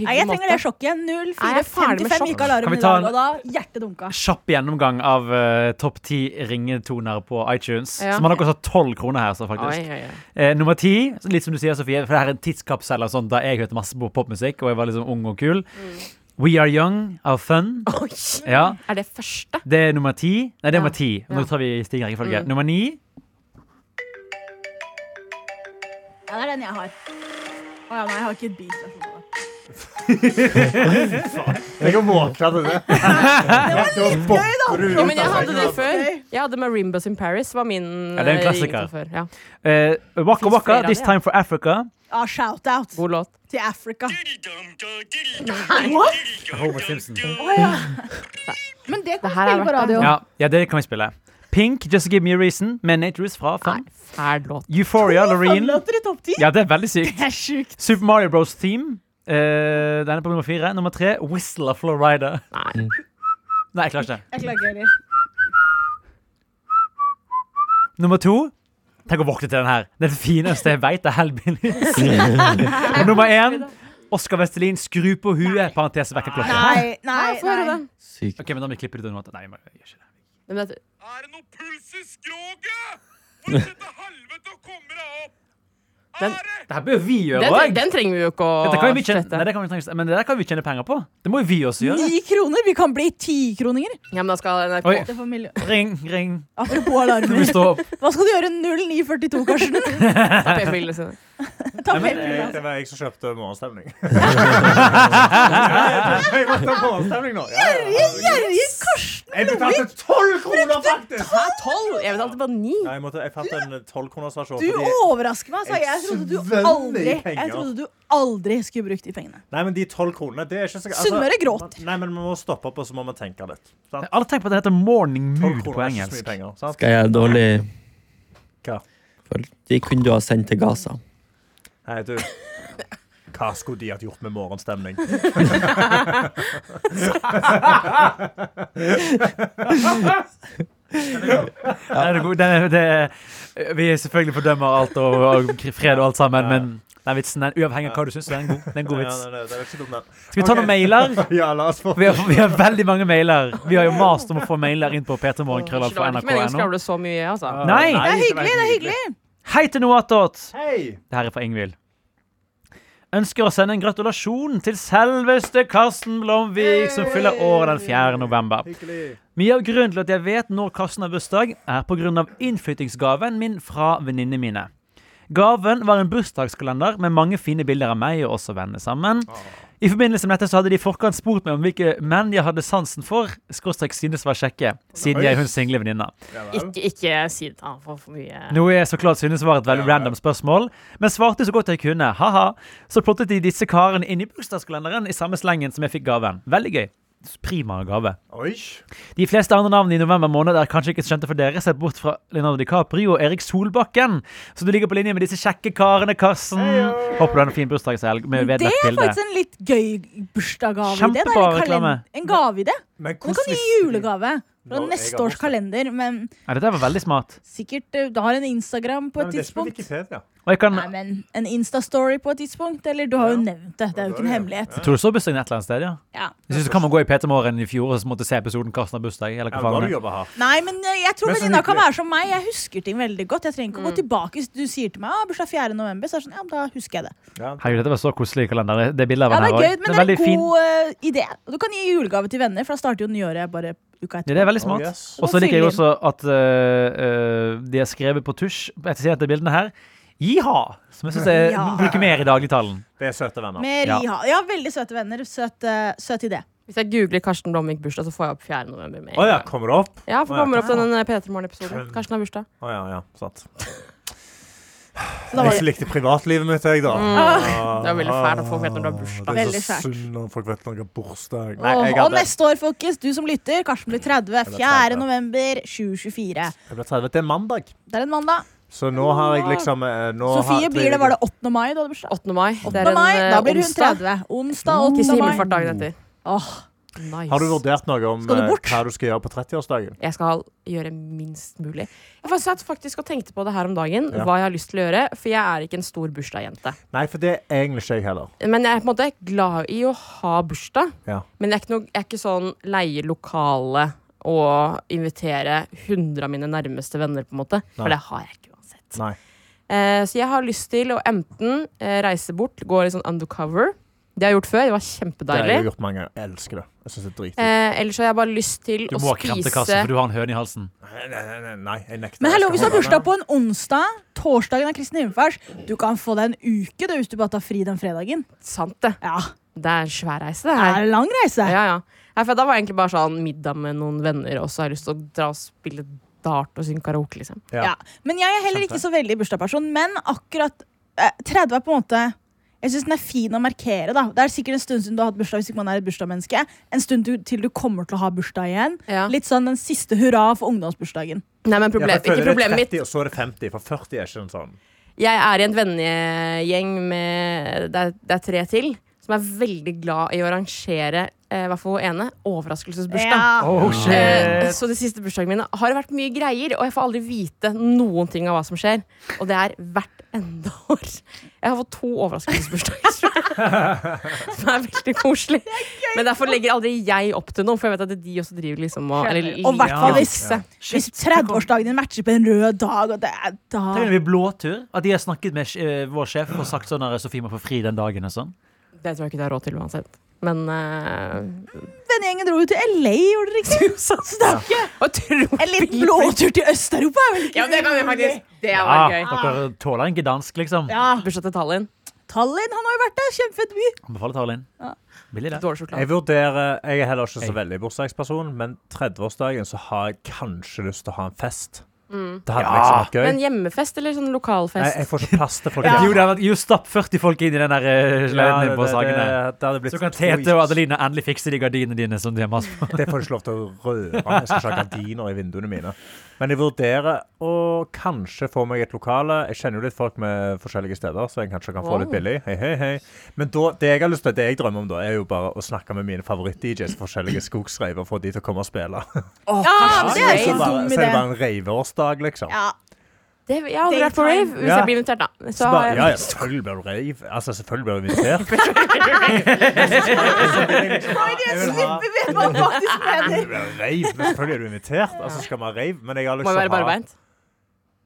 B: Nei,
F: hyggelig
B: jeg trenger
F: måte.
B: det sjokket.
F: Nei, jeg er ferdig
B: 04.55
F: med
B: gikk
F: sjokk.
D: Kan vi
B: alarmen i
D: ta
B: dag, og da hjertet dunka.
D: Kjapp gjennomgang av eh, topp ti ringetoner på iTunes.
F: Ja.
D: Som har noe sånn tolv kroner her, så faktisk.
F: Oi, oi, oi.
D: Eh, nummer ti, litt som du sier, Sofie, for det her er en tidskapsel av sånn da jeg hørte masse på popmusikk og jeg var liksom ung og kul.
F: Mm.
D: We Are Young av Fun.
F: Oi.
D: Ja,
F: Er det første?
D: det er nummer ti. Nei, det er nummer ti.
F: Ja. Mm.
D: Nå tar vi stigende rekkefølge. Nummer ni.
B: Ja, det er den jeg har. Å ja, nei, jeg har ikke et beat.
C: Jeg kan våkne til det. Det var litt gøy,
F: Jo, men jeg hadde det før. Jeg hadde Marimbas in Paris. Var min
D: Ja, det er en
F: eh,
D: klassiker.
F: ringtone før. Ja.
D: Eh, Waka
F: Finns flere
D: Waka,
F: av
D: This
F: de, ja.
D: Time for Africa.
B: Ja, shout-out
F: God låt.
B: Ah, til Africa.
D: Homer Simpson.
B: Men det
F: Det
B: kan
F: her er
B: spille på
F: verdt det.
B: radio.
D: Ja, ja, det kan vi spille. Pink, Just Give Me a Reason med Nate Roos fra
F: Nei,
D: Fun.
F: fæl låt.
D: Euphoria, Loreen.
B: Låter i topp ti?
D: Ja, det er veldig sykt.
B: Det er sjukt.
D: Super Mario Bros. Theme. Eh, den er på nummer fire. Nummer tre, Whistle of Florida.
F: Nei.
D: Nei, jeg klarer ikke.
B: Jeg klager heller.
D: Nummer to Tenk å våkne til den her. Den fineste jeg veit, er Hellbillies. Og nummer én Oskar Vestelin, skru på huet. Parentes vekkerklokke.
B: Nei, nei,
F: Nei, få høre
B: nei.
F: den.
E: Sykt.
D: Ok, men da må vi klippe det ut. Nei, jeg må- jeg gjør ikke det.
F: Men det-
J: Er det noe puls i skroget? Hvordan dette helvete kommer deg opp?
F: Den,
D: Dette bør vi gjøre
F: den,
D: òg.
F: den trenger vi jo ikke å
D: Dette kan jo vi tjene-
F: slette.
D: Nei, det kan vi trenge- Men det der kan vi tjene penger på. Det må jo vi også gjøre.
B: Ni kroner? Vi kan bli tikroninger.
F: Ja, men da skal NRK
D: Oi.
B: Det får miljø-
D: Ring, ring.
B: Apropos
D: Du må
B: alarmer.
D: stå opp.
B: Hva skal du gjøre 0942, Karsten?
F: ta p-pillene sine.
B: Ta
C: Nei, men, eh, jeg,
B: p-piller.
C: det var jeg som kjøpte morgenstemning. jeg måtte ha morgenstemning nå. Ja, ja, ja.
B: Gjerrige Karsten!
C: Jeg betalte tolv kroner, faktisk!
F: Hæ, tolv? Jeg betalte bare ni.
C: Nei, jeg, måtte, jeg fant en tolvkronersversjon.
B: Du
C: Fordi...
B: overrasker meg. Altså. Jeg trodde du
C: svømmer i
B: aldri Jeg
C: penger.
B: trodde du aldri skulle brukt de pengene.
C: Nei, men de tolv kronene det er ikke så... altså,
B: Sunnmøre gråter.
C: Nei, men vi må stoppe opp, og så må vi tenke litt.
D: Jeg har aldri tenkt på at det heter morning
C: Tolv
D: mood på
C: kroner er ikke så
D: engelsk.
C: mye penger. Sant?
E: Skal jeg gjøre dårlig
C: Hva?
E: føl- De kunne du ha sendt til Gaza.
C: Nei, du... Hva skulle de hatt gjort med morgenstemning?
D: Nei, det er god- det, det, vi selvfølgelig fordømmer alt og, og fred og alt sammen, men den vitsen den, uavhengig av hva du syns, den er en god, det er en god
C: Ja,
D: vits.
C: nei, nei, det er ikke dumt, men...
D: Skal vi ta noen mailer?
C: Ja, la oss få...
D: Vi har, vi har veldig mange mailer. Vi har jo mast om å få mailer inn på p3morgenkrøller
F: Det var ikke meningen å
D: nrk.no.
F: skravle så mye, altså.
D: Nei!
B: Det er hyggelig, det er hyggelig.
D: Hei til Noatot!
C: Hei!
D: Det her er fra Ingvild. Ønsker å sende en gratulasjon til selveste Karsten Blomvik, som fyller året den 4. november.
C: Hyggelig.
D: Mye av grunnen til at jeg vet når Karsten har bursdag, er pga. innflyttingsgaven min fra venninnene mine. Gaven var en bursdagskalender med mange fine bilder av meg og oss og vennene sammen. I forbindelse med dette så hadde de i forkant spurt meg om hvilke menn jeg hadde sansen for, skråstrek synes var kjekke, siden jeg er hun single venninna.
F: Ikke, ikke si det. Han får for mye
D: Noe jeg så klart synes var et veldig random spørsmål, men svarte så godt jeg kunne. Haha. Så plottet de disse karene inn i bursdagskalenderen i samme slengen som jeg fikk gaven. Veldig gøy. Prima gave.
C: Oi!
D: De fleste andre navn i november måned er kanskje ikke skjønte for dere, sett bort fra Leonardo DiCaprio og Erik Solbakken. Så du ligger på linje med disse kjekke karene, Karsten. Håper du har en fin bursdagshelg med
B: Det
D: vedlagt
B: er
D: bilde.
B: faktisk en litt gøy bursdagsgaveidé. Det er
D: Kjempebra
B: en kalend-
D: reklame.
B: En gaveidé.
C: Men
B: Du kan gi
C: visste-
B: julegave fra
C: Nå, jeg
B: neste
C: har
B: års kalender, men
D: Ja, dette var veldig smart.
B: sikkert eh, du har en Instagram på
C: Nei, men
B: et
C: det er ikke på
B: tidspunkt.
C: Wikipedia.
D: Og jeg kan
B: Nei, men En Insta-story på et tidspunkt. Eller du har jo nevnt det. Det er jo ikke en hemmelighet.
D: Tror du så bursdagen et eller annet sted, ja?
B: Ja.
D: Jeg synes du kan man gå i P3 Morgen i fjor og så måtte se episoden Karsten har bursdag, eller
C: Ja,
D: hva
C: nå har
D: faen
C: du
D: det er.
C: jobbet her.
B: Nei, men eh, jeg tror
C: Men så
B: venninna kan
C: hyggelig.
B: være som meg. Jeg husker ting veldig godt. Jeg trenger ikke å
F: Mm.
B: gå tilbake Hvis du sier til meg ah, bursdag 4. november, så er det sånn, ja, men da husker jeg det.
C: Ja.
D: Herregud, dette var så koselig kalender. Det- Det er bilder av
B: Ja, det
D: den
B: er
D: her
B: gøy,
D: også.
B: men det er
D: veldig
B: en
D: fin.
B: god eh, idé. Og du kan gi julegave til venner, for da starter jo nyåret bare uka
D: Ja,
B: etterpå.
D: det er veldig smart.
C: Oh, yes.
D: Og så liker jeg
B: Fyll inn.
D: også at øh, øh, de er skrevet på tusj etter siden etter bildene her. Jiha! Som jeg syns jeg
B: Ja.
D: bruker mer i dagligtalen.
C: Det er søte venner.
B: Med
D: Ja.
B: Riha. Ja, veldig søte venner. Søt, eh, søt idé.
F: Hvis jeg googler Karsten Blomvik bursdag, så får jeg opp 4. november. Med. en
C: Å ja,
F: gang.
C: kommer det opp?
F: ja, for
C: Å ja,
F: kommer opp den eh, P3 Morgen-episoden. Karsten har bursdag.
C: Å ja, ja, sant.
B: Så da var det. Mm.
C: Jeg
B: Ah.
C: likte privatlivet mitt, jeg, da.
F: Det var veldig fælt at folk vet når du har bursdag.
C: Det er
B: Veldig
C: så
B: fælt.
C: synd når folk vet når jeg har bursdag. Nei,
B: Åh,
C: jeg
B: og
C: hadde
B: neste år, folkens, du som lytter, Karsten blir 30. 4. november 2024.
C: Jeg ble 30 til mandag.
B: Det er en mandag.
C: Så nå har jeg liksom eh, nå
B: Sofie
C: har,
B: blir det, var det 8. mai du hadde bursdag?
F: 8. mai. Det
B: 8. mai,
F: eh,
B: da blir hun
F: onsdag.
B: 30. Onsdag 8.
F: Kristi
B: mai.
F: himmelfart dagen etter.
B: Åh,
F: Nice.
C: Har du vurdert noe om
B: Skal du
C: eh,
B: bort?
C: hva du skal gjøre på 30-årsdagen?
F: jeg skal gjøre minst mulig. Jeg faktisk satt faktisk og tenkte på det her om dagen,
C: Ja.
F: hva jeg har lyst til å gjøre. For jeg er ikke en stor bursdagsjente.
C: Nei, for det er egentlig ikke jeg heller.
F: Men jeg er på en måte glad i å ha bursdag.
C: Ja.
F: Men jeg er ikke, noe, jeg er ikke sånn leie lokale og invitere 100 av mine nærmeste venner, på en måte.
C: Nei.
F: For det har jeg ikke uansett.
C: Nei.
F: Eh, så jeg har lyst til å enten eh, reise bort, gå litt sånn undercover. Det har jeg gjort før. Det var
C: Det har
F: kjempedeilig.
C: jeg gjort mange ganger. Jeg elsker det. Jeg syns det er dritdigg.
F: Eh, ellers har jeg bare lyst til
D: Du
F: å
D: må kremte
F: spise
D: Karsten, for du har en høne i halsen.
C: Nei, nei, nei, nei, nei, jeg nekter.
B: Men hallo, hvis du har
C: Jeg skal
B: bursdag på en onsdag, torsdagen er Kristin Himmelfars, du kan få deg en uke det, hvis du bare tar fri den fredagen.
F: Sant, det.
B: Ja,
F: Det er en svær reise, det
B: Det
F: her.
B: er en lang reise.
F: Ja, ja. Nei, for da var det egentlig bare sånn middag med noen venner, og så har jeg lyst til å dra og spille dart og synge karaoke, liksom.
C: Ja.
B: Ja. Men jeg er heller ikke så veldig bursdagsperson. Men akkurat eh, 30 er på en måte Jeg syns den er fin å markere. da Det er sikkert en stund siden du har hatt bursdag hvis ikke man er et bursdagsmenneske. En stund du, til du kommer til å ha bursdag igjen.
F: Ja.
B: Litt sånn den siste hurra for ungdomsbursdagen.
F: Nei, men
C: Ja,
F: problem,
C: for jeg føler
F: ikke problemet
C: Det
F: mitt.
C: er 30, og så er det 50, for 40 er ikke en sånn.
F: Jeg er i en vennegjeng med det er, det er tre til, som er veldig glad i å arrangere eh, i hvert fall hun ene, overraskelsesbursdag.
B: Ja.
D: Oh, shit.
F: Eh, Så de siste bursdagene mine har det vært mye greier, og jeg får aldri vite noen ting av hva som skjer. Og det er hvert enda år. Jeg har fått to overraskelsesbursdager. Som er veldig koselig. Men derfor legger aldri jeg opp til noe, for jeg vet at de også driver liksom og eller
B: Og i hvert
F: liker
B: fall
F: å
B: hvis,
F: fikse.
B: hvis 30-årsdagen din matcher på en rød dag. Og det er da
D: Tenk om det blir blåtur. At de har snakket med eh, vår sjef og sagt sånn at Sofie må få fri den dagen og sånn.
F: Det tror jeg ikke de har råd til uansett. Men eh,
B: Vennegjengen dro jo til LA, gjorde dere ikke? Så det er ikke
F: og tro-
B: En liten blåtur til Øst-Europa er vel ikke
F: Ja, det kan vi faktisk. Det var
D: Ja,
F: gøy.
D: Ah, dere tåler en gdansk, liksom.
B: Ja.
F: Bursdag til Tallinn.
B: Tallinn, han har jo vært der. Kjempefett by.
D: Anbefaler Tarlin. Billig, det.
F: Dårlig sjokolade.
C: Jeg vurderer Jeg er heller ikke så veldig bursdagsperson, men 30-årsdagen så har jeg kanskje lyst til å ha en fest.
B: Mm.
C: Det hadde liksom vært gøy.
F: Men hjemmefest eller sånn
C: Nei, jeg
F: lokalfest?
C: får ikke plass til folk.
D: Jo, det hadde vært- jo, stapp 40 folk inn i den der eh,
C: Ja,
D: leiligheten din på Sagene.
C: det hadde blitt
D: Så kan
C: to
D: Tete
C: is.
D: og Adelina endelig fikse de gardinene dine som de har mast på.
C: Det får jeg ikke lov til å røre. Jeg skal ikke ha gardiner i vinduene mine. Men jeg vurderer å kanskje få meg et lokale. Jeg kjenner jo litt folk med forskjellige steder, så jeg kanskje kan få litt billig. Hei, hei, hei. Men da, det jeg har lyst til, det jeg drømmer om, da, er jo bare å snakke med mine favoritt-DJs forskjellige skogsreiver og få de til å komme og spille.
B: Ja,
F: sånn
B: det er
C: Så
B: ikke en
C: bare,
B: dum
C: så er det
B: idé.
C: bare en reiveårsdag, liksom.
B: Ja.
F: Det, jeg har aldri vært på rave. Hvis
C: Ja.
F: jeg blir invitert, da.
C: Så
F: Så har
C: bare,
F: jeg-
C: ja, ja, selvfølgelig blir du reiv. Altså, selvfølgelig blir du invitert.
B: Freudian slip, vi vet hva han faktisk
C: Du
B: mener.
C: blir reiv, men selvfølgelig er du invitert. Altså, skal man reiv, men jeg har lyst
F: Må jo
C: til
F: være
C: å ha
F: barbeint.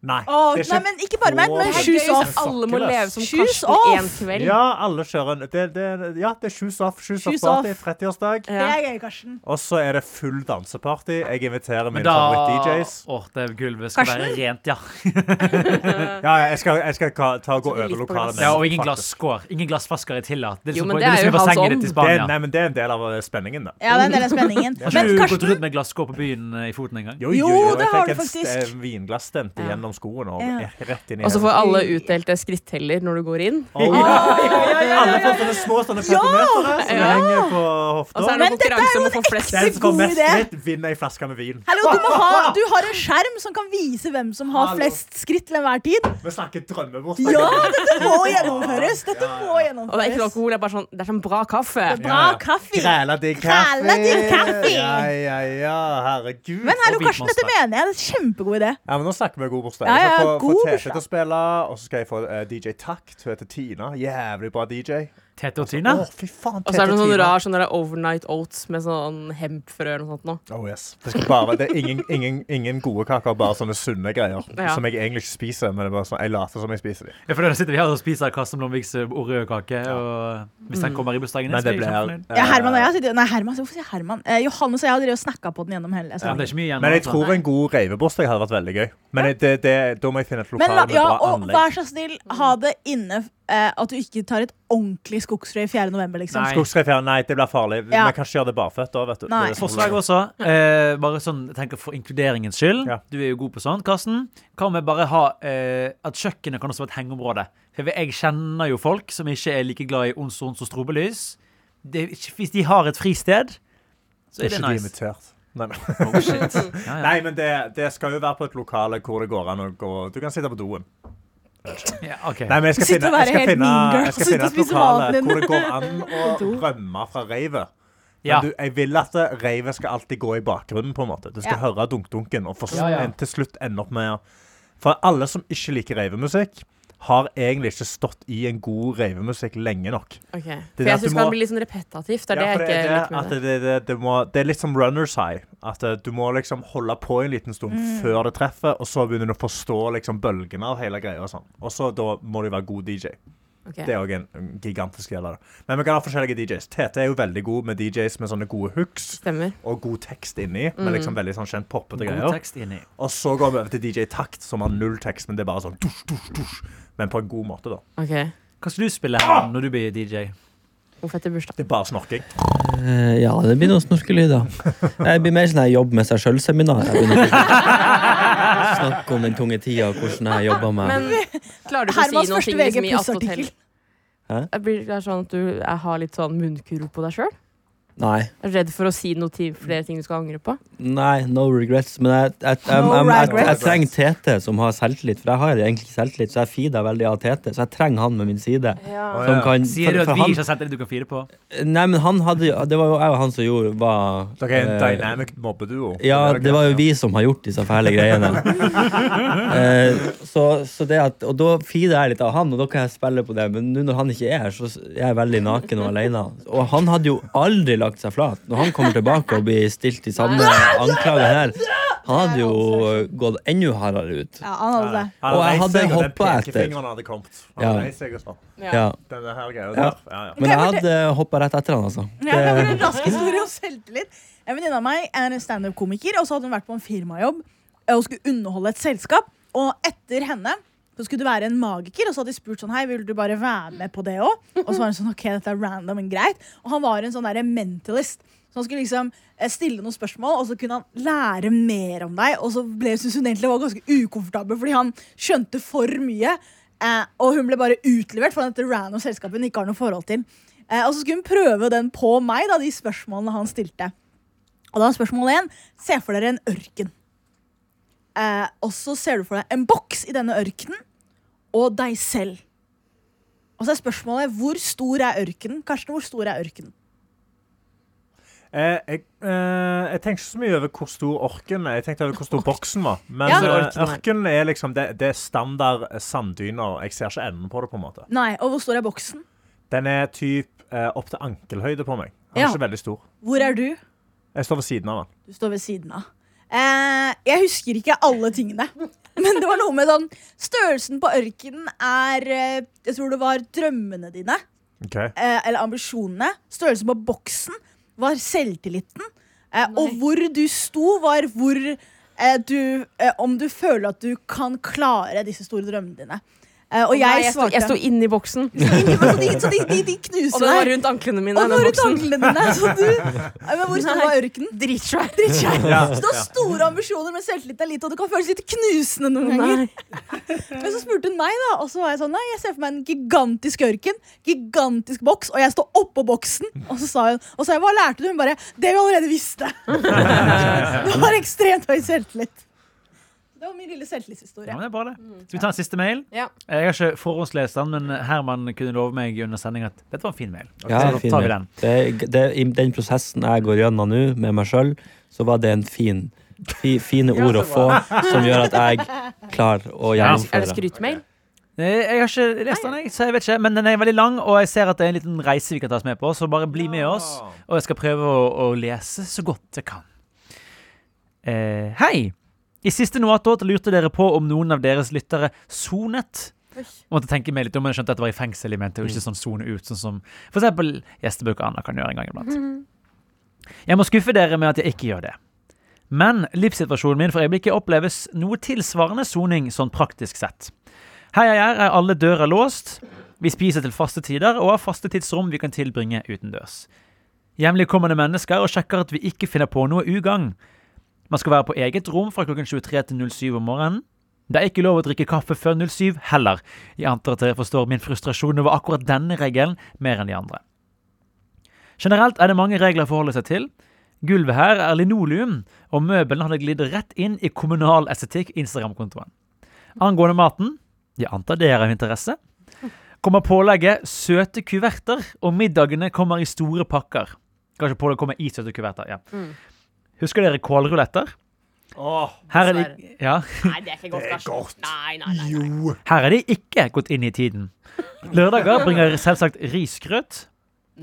C: Nei.
B: Å,
C: det
B: nei,
C: er ikke-
B: men ikke bare meg, men
C: Herregud,
B: shoes off.
C: så fuck
F: Alle må
C: it, ass.
F: leve som
B: Shoes
F: Karsten én
B: off!
F: kveld.
C: Ja, alle kjører en det, det, Ja, det er shoes off. Shoes,
B: Shoes
C: off party,
B: off.
C: 30-årsdag.
B: Det er gøy, Karsten.
C: Og så er det full danseparty. Jeg inviterer mine
D: Men da
C: favoritt-DJs.
D: Åh, det gulvet skal
B: Karsten?
D: være rent, ja.
C: Ja, ja, jeg skal, jeg skal ka- ta og gå
F: Så det er
C: over lokalet.
F: litt på glass.
C: med-
D: ja. Og ingen
C: Faktisk.
D: glasskår. Ingen glassflasker er tillatt. Det er
F: Jo,
D: liksom,
F: men
D: det
F: det
D: er liksom
F: er jo hans
D: bassenget
F: ånd.
D: ditt
C: Det
D: i
C: er,
D: Spania.
C: nei, men det er en del av eh, spenningen, da.
B: Ja, det er en del av spenningen.
D: Har
B: Men
D: ikke du gått
B: Karsten,
D: rundt med glasskår på byen eh, i foten engang?
C: Jo,
B: Jo, det
C: jeg
B: har
C: fikk
B: du
C: en st-
B: faktisk.
C: eh, vinglass stemt
F: Ja.
C: gjennom skoen og
B: Ja.
C: eh, rett inn i
F: Og så
C: hele-
F: får alle utdelte skritteller når du går inn.
C: Alle får sånne små sånne peppermøtere som henger på
F: Og så
C: hofta.
F: er det
B: Men dette er
F: konkurranse
B: jo
F: om å
B: en
F: få flest.
C: Den som får
B: god
C: mest
B: idé.
C: skritt, vinner ei flaske med vin.
B: Hallo, du, må ha, du har en skjerm som kan vise hvem som har flest skritt til enhver tid.
C: Vi snakker drømmebursdag.
B: Ja, dette må gjennomføres! Dette må
F: Og det er ikke noe
B: gjennomføres.
F: alkohol, det er bare sånn, det er sånn bra kaffe.
B: Bra kaffe.
C: Kræla digg kaffe.
B: Kræla digg kaffe.
C: Ja, ja, ja, herregud.
B: Men hallo,
D: Og
B: Karsten, dette
D: Beatmaster.
B: mener jeg. Det er en kjempegod idé.
C: Ja, men Nå snakker vi god bursdag.
B: Ja,
C: Jeg skal
B: ja,
C: få,
B: god
C: få Tete
B: bursdag.
C: til å spille, og så skal jeg få eh, DJ Takt. Hun heter Tina. Jævlig bra DJ.
D: Tete og
C: Å,
D: Tina?
C: fy faen,
F: Og så
C: Tete
F: er det
C: og
F: noen
C: Tina.
F: rar sånn der overnight oats med sånn hempfrø eller noe sånt. Nå.
C: Oh, yes. Det, skal bare, være- det er ingen, ingen, ingen gode kaker, bare sånne sunne greier.
F: Ja.
C: Som jeg egentlig ikke spiser, men det er bare sånn, jeg later som jeg spiser dem.
D: Ja, for da sitter vi her og spiser Karsten Blomviks orøkake, og
C: Mm.
D: hvis den kommer i bursdagen din, så er jeg kjempefornøyd.
B: Ja, Herman og jeg har sittet Nei, Herman, hvorfor sier jeg Herman? Eh, Johannes og jeg har drevet og snakka på den gjennom hele
D: Ja, det
B: sendingen.
D: er ikke mye igjen.
C: Men jeg
D: altså.
C: tror en god reivebursdag hadde vært veldig gøy. Men jeg- det, det, da må jeg finne et
B: Men
C: lokal
B: la,
C: med
B: ja,
C: bra
B: og vær
C: anlegg.
B: så snill, ha det inne eh, at du ikke tar et ordentlig skogsfrø i 4. november, liksom.
D: Nei.
C: Skogsreifjær, nei, det blir farlig.
B: Ja.
C: Vi kan ikke gjøre det barføtt da, vet du.
B: Nei.
C: Det er
D: Forslag også. Eh, bare sånn, jeg tenker For inkluderingens skyld.
C: Ja.
D: Du er jo god på sånt, Karsten. Hva med bare ha eh, at kjøkkenet kan også være et hengeområde? For jeg kjenner jo folk som ikke er like glad i ons og ons og strobelys. Det, er ikke- hvis de har et fristed, så er
C: ikke
D: det
C: de
D: nice.
C: invitert. Nei, men.
D: Oh, shit. Ja, ja.
C: Nei, men det, det skal jo være på et lokale hvor det går an å gå Du kan sitte på doen.
D: Ja, ok.
C: Nei, men jeg skal
B: Sitte
C: finne,
B: og være
C: jeg skal
B: helt
C: finne,
B: mean girl,
C: jeg skal
B: sitte
C: finne
B: og
C: et
B: spise
C: lokale
B: maten din.
C: hvor det går an å rømme fra reivet. Men
D: Ja.
C: du, jeg vil at eh, reivet skal alltid gå i bakgrunnen. på en måte Du skal
B: Ja.
C: høre dunk-dunken, og for,
D: Ja, ja.
C: en- til slutt ende opp med å- For alle som ikke liker reivemusikk, har egentlig ikke stått i en god reivemusikk lenge nok.
F: Ok.
C: det
F: For jeg
C: at du
F: syns det
C: må-
F: kan bli litt sånn repetativt. Det er
C: Ja, for
F: det jeg ikke
C: det,
F: liker med
C: at
F: det.
C: det, det, det, må, det er litt som runners high. At eh, du må liksom holde på en liten stund
F: Mm.
C: før det treffer, og så begynner du å forstå liksom bølgene av hele greia. Og sånn. Og så da må du være god DJ.
F: Ok.
C: Det er òg en en gigantisk del av det. Men vi kan ha forskjellige DJs. Tete er jo veldig god med DJs med sånne gode hooks
F: Stemmer.
C: og god tekst inni. Med
F: Mm.
C: liksom veldig sånn kjent poppete
D: God
C: greier.
D: tekst inni.
C: Og så går vi over til DJ Takt, som har null tekst, men det er bare sånn dusj, dusj, dusj. Men på en god måte, da.
F: Ok.
D: Hva skal du spille her når du blir DJ?
F: Hvorfor heter bursdag?
C: Det er bare snorking.
E: Eh, ja, det blir noen snorkelyder. Jeg blir mer sånn her jobb med seg sjøl-seminar. Jeg begynner å Snakke om den tunge tida og hvordan jeg jobber meg.
F: Men klarer du ikke å
B: Hermans
F: si noen
B: første
F: ting
B: VG
F: liksom, i attåtil?
B: pluss-artikkel.
F: Blir det sånn at du eh, har litt sånn munnkuro på deg sjøl?
E: Nei.
F: Er du redd for å si noe til flere ting du skal angre på?
E: Nei, no regrets. Men jeg, jeg, jeg,
B: No
E: jeg, jeg, jeg,
B: regrets.
E: trenger Tete som har selvtillit, for jeg har egentlig ikke selvtillit, så jeg feeder veldig av Tete. Så jeg trenger han med min side.
C: Å,
E: Som
C: ja.
E: kan,
D: Sier du
E: for,
D: at
E: for
D: vi ikke
E: han,
D: har sendt det du kan fire på?
E: nei, men han hadde jo Det var jo jeg og han som gjorde var,
C: Dere er en
E: eh,
C: dynamic mobbeduo.
E: Ja, det var jo vi som har gjort disse fæle greiene. eh, så, så det at, og da feeder jeg litt av han, og da kan jeg spille på det. Men nå når han ikke er her, så er jeg veldig naken og alene. Og han hadde jo aldri lagt seg flat. Når han kommer tilbake og blir stilt de samme anklagene her, han hadde jo gått enda hardere ut.
B: Ja, han hadde det.
C: Han
E: Og jeg
C: reiste seg,
E: hadde
C: og den
E: hoppet etter.
C: pekefingeren hadde kommet. Han
E: Ja.
C: reiste seg og sånn.
E: Ja.
C: Denne her greia
E: Ja.
C: der. Ja, ja.
E: Men jeg hadde hoppa rett etter han, altså.
B: Ja, det var
E: Det,
B: en rask historie om selvtillit. En venninne av meg er en standup-komiker, og så hadde hun vært på en firmajobb eh, og skulle underholde et selskap. Og etter henne så skulle det være en magiker, og så hadde de spurt sånn Hei, vil du bare være med på det òg? Og så var hun sånn OK, dette er random, men greit. Og han var en sånn derre mentalist. Så han skulle liksom eh, stille noen spørsmål, og så kunne han lære mer om deg. Og så ble syntes hun egentlig det var ganske ukomfortabel, fordi han skjønte for mye. Eh, og hun ble bare utlevert fra dette random selskapet hun ikke har noe forhold til. Eh, og så skulle hun prøve den på meg, da, de spørsmålene han stilte. Og da er spørsmål én Se for dere en ørken. Eh, og så ser du for deg en boks i denne ørkenen og deg selv. Og så er spørsmålet hvor stor er ørkenen? Karsten, hvor stor er ørkenen?
C: Eh, jeg, eh, jeg tenkte ikke så mye over hvor stor orken er. Jeg tenkte over hvor stor boksen var. Men
F: Ja.
C: eh,
F: Orken er-
C: orken er liksom det, det er standard eh, sanddyner. Jeg ser ikke enden på det. på en måte
B: Nei, og hvor stor er boksen?
C: Den er typ eh, opp til ankelhøyde på meg. Den er
B: Ja.
C: ikke veldig stor.
B: Hvor er du?
C: Jeg står ved siden av den.
B: Du står ved siden av. Eh, jeg husker ikke alle tingene. Men det var noe med sånn Størrelsen på ørkenen er eh, Jeg tror det var drømmene dine.
C: Ok.
B: eh, eller ambisjonene. Størrelsen på boksen var selvtilliten. Eh, og hvor du sto, var hvor eh, du eh, Om du føler at du kan klare disse store drømmene dine. Eh, og
F: Nei,
B: jeg,
F: jeg, sto,
B: svarte
F: jeg sto inni boksen,
B: Så de, så de, de, de
F: og
B: knuser
F: den var
B: deg.
F: rundt anklene mine.
B: Og nå
F: den
B: rundt
F: boksen.
B: anklene dine. Så du, Nei, men hvor stor
F: Nei.
B: var ørkenen? Dritsvær. Dritsvær.
C: Ja.
B: Så du har store ambisjoner, men selvtilliten er lite, og det kan føles litt knusende noen ganger.
F: Nei.
B: Men så spurte hun meg, da, og så var jeg sånn Nei, jeg ser for meg en gigantisk ørken. Gigantisk boks, og jeg står oppå boksen. Og så sa hun Og så sa jeg, hva lærte du? Hun bare Det vi allerede visste. Du har ekstremt høy selvtillit. Det var min lille
D: Ja,
B: selvtillitshistorie.
D: men det er bra, det. Skal vi ta en siste mail?
F: Mm,
D: Eh,
F: Ja.
D: Jeg har ikke forhåndslest den, men Herman kunne love meg under sending at dette var en fin mail.
E: ja,
D: så
E: fin,
D: tar vi den.
E: det, det, I den prosessen jeg går gjennom nå med meg sjøl, så var det en fin fi, fine ord å få som gjør at jeg klarer å
D: Ja.
F: Er det
E: gjennomføre.
F: skrytmail?
D: Nei, Eh, Jeg har ikke lest den, jeg, så jeg vet ikke. Men den er veldig lang, og jeg ser at det er en liten reise vi kan ta oss med på. Så bare bli med oss, og jeg skal prøve å, å lese så godt jeg kan. Eh, hei! I siste Noatot lurte dere på om noen av deres lyttere sonet. Måtte tenke meg litt om, men jeg skjønte at det var i fengsel jeg mente, og ikke sånn sone ut, sånn som for eksempel gjestebøker Anna kan gjøre en gang iblant. Jeg må skuffe dere med at jeg ikke gjør det. Men livssituasjonen min for øyeblikket oppleves noe tilsvarende soning sånn praktisk sett. Her jeg er, er alle dører låst. Vi spiser til faste tider og har faste tidsrom vi kan tilbringe utendørs. Hjemlig kommende mennesker og sjekker at vi ikke finner på noe ugagn. Man skal være på eget rom fra klokken 23 til 07 om morgenen. Det er ikke lov å drikke kaffe før 07 heller. Jeg antar at dere forstår min frustrasjon over akkurat denne regelen mer enn de andre. Generelt er det mange regler å forholde seg til. Gulvet her er linoleum, og møbelen hadde glidd rett inn i kommunal estetikk Instagram-kontoen. Angående maten jeg antar det er av interesse. Kommer pålegget søte kuverter, og middagene kommer i store pakker. Kanskje pålegget kommer i søte kuverter, ja.
F: Mm.
D: Husker dere kålruletter?
C: Åh,
D: Her er de, ja.
F: Nei, det er ikke godt,
C: Det er
F: Karsten.
C: godt.
F: Nei, nei, nei, nei.
C: jo.
D: Her er de ikke gått inn i tiden. Lørdager bringer selvsagt risgrøt.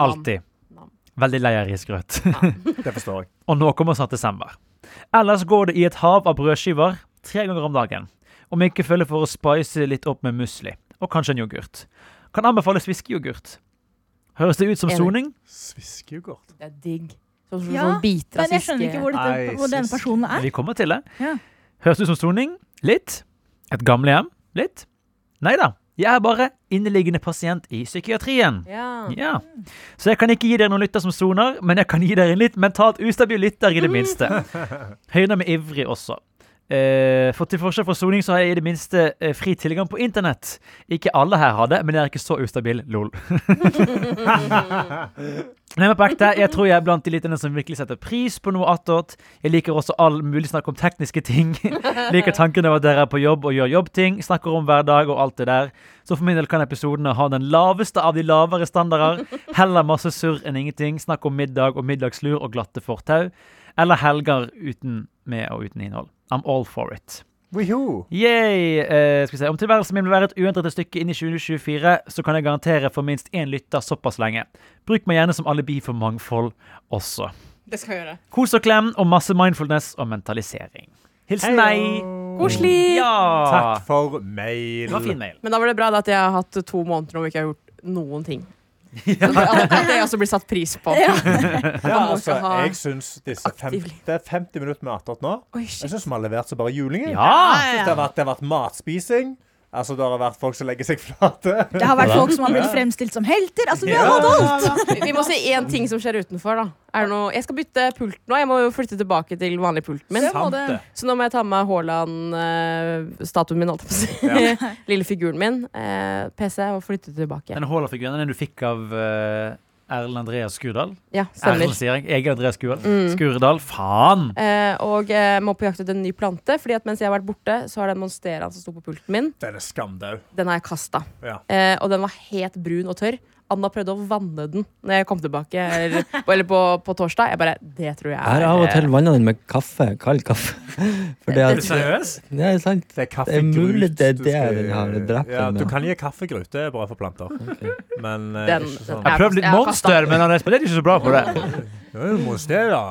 D: Alltid.
F: Nam.
D: Veldig lei av risgrøt.
C: Det forstår jeg.
D: Og nå kommer snart desember. Ellers går det i et hav av brødskiver tre ganger om dagen. Om ikke følger for å spice litt opp med musli, og kanskje en yoghurt. Kan anbefales viskeyoghurt. Høres det ut som
F: Enig.
D: soning?
C: Sviskeyoghurt.
F: Det er digg. Sånn som
B: Ja,
F: sånn biter av
B: Men jeg skjønner ikke
F: siske-
B: hvor,
C: Nei,
B: dette, hvor denne
C: sis.
B: personen er.
D: Vi kommer til det.
B: Ja.
D: Høres det ut som soning? Litt. Et gamlehjem? Litt. Nei da, jeg er bare inneliggende pasient i psykiatrien.
F: Ja.
D: Ja. Så jeg kan ikke gi dere noen lytter som soner, men jeg kan gi dere en litt mentalt ustabil lytter i det minste. Høyner med ivrig også. Eh, for til forskjell fra soning så har jeg i det minste eh, fri tilgang på internett. Ikke alle her har det, men jeg er ikke så ustabil. Lol. Nei, men på ekte, jeg tror jeg er blant de lytterne som virkelig setter pris på noe attåt. Jeg liker også all mulig snakk om tekniske ting. liker tanken over at dere er på jobb og gjør jobbting. Snakker om hverdag og alt det der. Så for min del kan episodene ha den laveste av de lavere standarder. Heller masse surr enn ingenting. Snakk om middag og middagslur og glatte fortau. Eller helger uten med og uten innhold. I'm all for it.
C: Woohoo!
D: Yay! Eh, skal vi se. Om tilværelsen min vil være et uendret stykke inn i 2024, så kan jeg garantere for minst én lytter såpass lenge. Bruk meg gjerne som alibi for mangfold også.
F: Det skal jeg gjøre.
D: Kos og klem og masse mindfulness og mentalisering. Hilsen meg.
F: Koselig!
D: Ja!
C: Takk for
D: Det var fin
C: mail.
D: mail.
F: Men da var det bra da, at jeg har hatt to måneder nå hvor jeg ikke har gjort noen ting. Så det, at det også blir satt pris på.
C: Ja,
F: Bare
C: altså,
F: skal ha
C: jeg syns disse fem,
F: aktiv liv.
C: Det er 50 minutter med attåt nå.
F: Oi,
C: Jeg
F: shit.
C: syns vi har levert så bare julinger. Det,
D: Ja!
C: har vært, det har vært matspising. Altså, det har vært folk som legger seg flate.
B: Det har vært folk som har blitt fremstilt som helter. Altså, vi har hatt alt!
F: Vi vi må si én ting som skjer utenfor. da er det noe? Jeg skal bytte pult nå. Jeg må jo flytte tilbake til vanlig pulten min.
C: Sant det.
F: Så nå må jeg ta med meg Haaland-statuen min, holdt jeg på å si. Lille figuren min. Eh, PC og flytte tilbake.
D: Den Haaland-figuren den du fikk av eh, Erlend Andreas Skurdal.
F: Ja, stemmer.
D: Erlend, sier jeg. Jeg er Andreas Skurdal. Skurdal, faen!
F: Eh, og eh, må på jakt etter en ny plante, Fordi at mens jeg har vært borte, så har den monsteraen som sto på pulten min,
C: Den er skamdau.
F: den har jeg kasta.
C: Ja.
F: Eh, og den var helt brun og tørr. Anna prøvde å vanne den når jeg kom tilbake eller, eller på, på torsdag. Jeg bare Det tror jeg
E: Jeg har av og til vanna den med kaffe. Kald kaffe. For det,
D: Er du
E: at,
D: seriøs?
E: det er sant.
C: Det er kaffegrut.
E: Det er mulig det er
C: du
E: det
C: skal-
E: den har drept
C: ja,
E: den,
C: Du
E: ja.
C: kan gi kaffegrut. Det er bra for planter. Men eh,
F: Den-
C: ikke sånn
D: Jeg har prøvd litt
F: Jeg har kastet.
D: monster, men han responderer ikke så bra på det.
C: «Ja, du må se, da.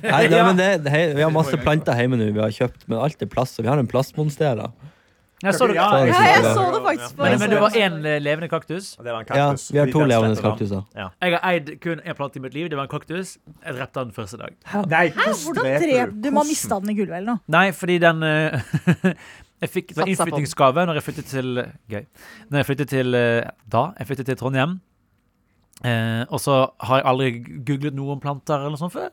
E: Nei, det, men det, det, hei, vi har masse planter hjemme nå vi har kjøpt, men alt er plast. Og vi har en plastmonster. da.
D: Jeg så det.
C: Ja,
E: jeg
B: Ja,
E: så
B: jeg så det faktisk på
D: Men, men det var
B: Instagram.
D: én levende kaktus.
C: Det var en
E: Ja,
C: kaktus.
E: vi har to
C: Den
E: levende
C: sletter da.
E: kaktuser.
D: Jeg har eid kun én plante i mitt liv. Det var en kaktus. Jeg drepte den første dag.
C: Nei,
B: Hvordan drep du? Man mista den i gulvet eller noe.
D: Nei, fordi den eh, Jeg fikk det var
F: Satsa på den.
D: innflyttingsgave når jeg flyttet til Gøy. Når jeg flyttet til eh, Da jeg flyttet til Trondheim. Eh, og så har jeg aldri googlet noe om planter eller noe sånt før.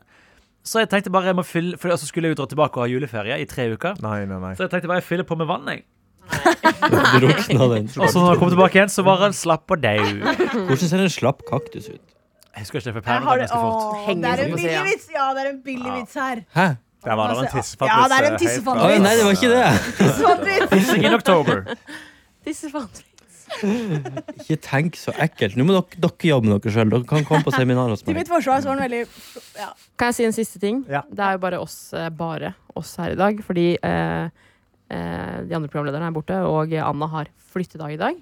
D: Så jeg tenkte bare jeg må fylle For så skulle jeg jo dra tilbake og ha juleferie i tre uker.
C: Nei, nei, nei.
D: Så jeg tenkte bare jeg fyller på med vann, jeg.
E: Du drukna den.
D: Og så når jeg kom tilbake igjen, så var den slapp og dau.
E: Hvordan ser en slapp kaktus ut?
D: Jeg husker ikke, for
B: Jeg
D: pæren
B: har
D: var
B: det,
D: ganske fort.
B: Åh,
F: Henger
B: det er en
F: som på
B: billig
F: siden.
B: vits! Ja, det er en billig vits her.
E: Hæ?
C: Der var det en
B: Altså,
C: tissefatt.
B: ja, det er en
C: eh, helt
B: tissefatt.
C: fra-
E: Oi, nei, det var ikke det.
B: Svart-hvitt.
D: Sing in October.
F: eh, Disse faen-
E: Ikke tenk så ekkelt. Nå må dere, dere jobbe med dere sjøl. Dere kan komme på seminar hos
B: Til
E: meg.
B: mitt forsvar så var den veldig ja.
F: Kan jeg si en siste ting?
C: Ja.
F: Det er jo bare oss, eh, bare oss her i dag. Fordi eh, eh, de andre programlederne er borte, og Anna har flyttedag i dag.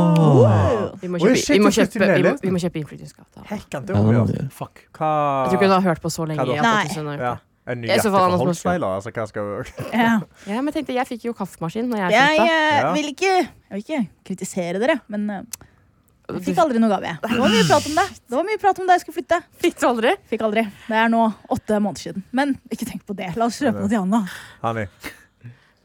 E: Åh.
F: Vi må
C: Oi,
F: kjøpe,
C: shit,
F: vi må
C: hun flytter inn i
F: kjøpe, vi må,
C: leiligheten.
F: vi må kjøpe innflyttingsgave. Jeg
C: Hekkan, det
E: Ja,
C: må vi gjøre.
E: det-
D: Fuck.
C: Hva
F: tror ikke hun har hørt på så lenge.
C: Hva da?
F: i at
B: Nei.
F: hun har hørt
C: Ja.
F: det. sånn
C: En ny
F: Jeg så
C: jakke
F: for
C: for
F: han som har
C: Holtzweiler? Altså, hva skal vi
B: ja.
F: Ja, men jeg tenkte, jeg fikk jo kaffemaskin når jeg
B: Jeg
F: flytta.
B: eh,
C: Ja.
B: vil ikke Jeg vil ikke kritisere dere, men eh, jeg fikk aldri noe gave. jeg. Det var mye prat om det Det var mye prat om da jeg skulle flytte.
F: Fikk du aldri?
B: Fikk aldri. Det er nå åtte måneder siden. Men ikke tenk på det. La oss kjøpe noe til Anna.
C: Honey.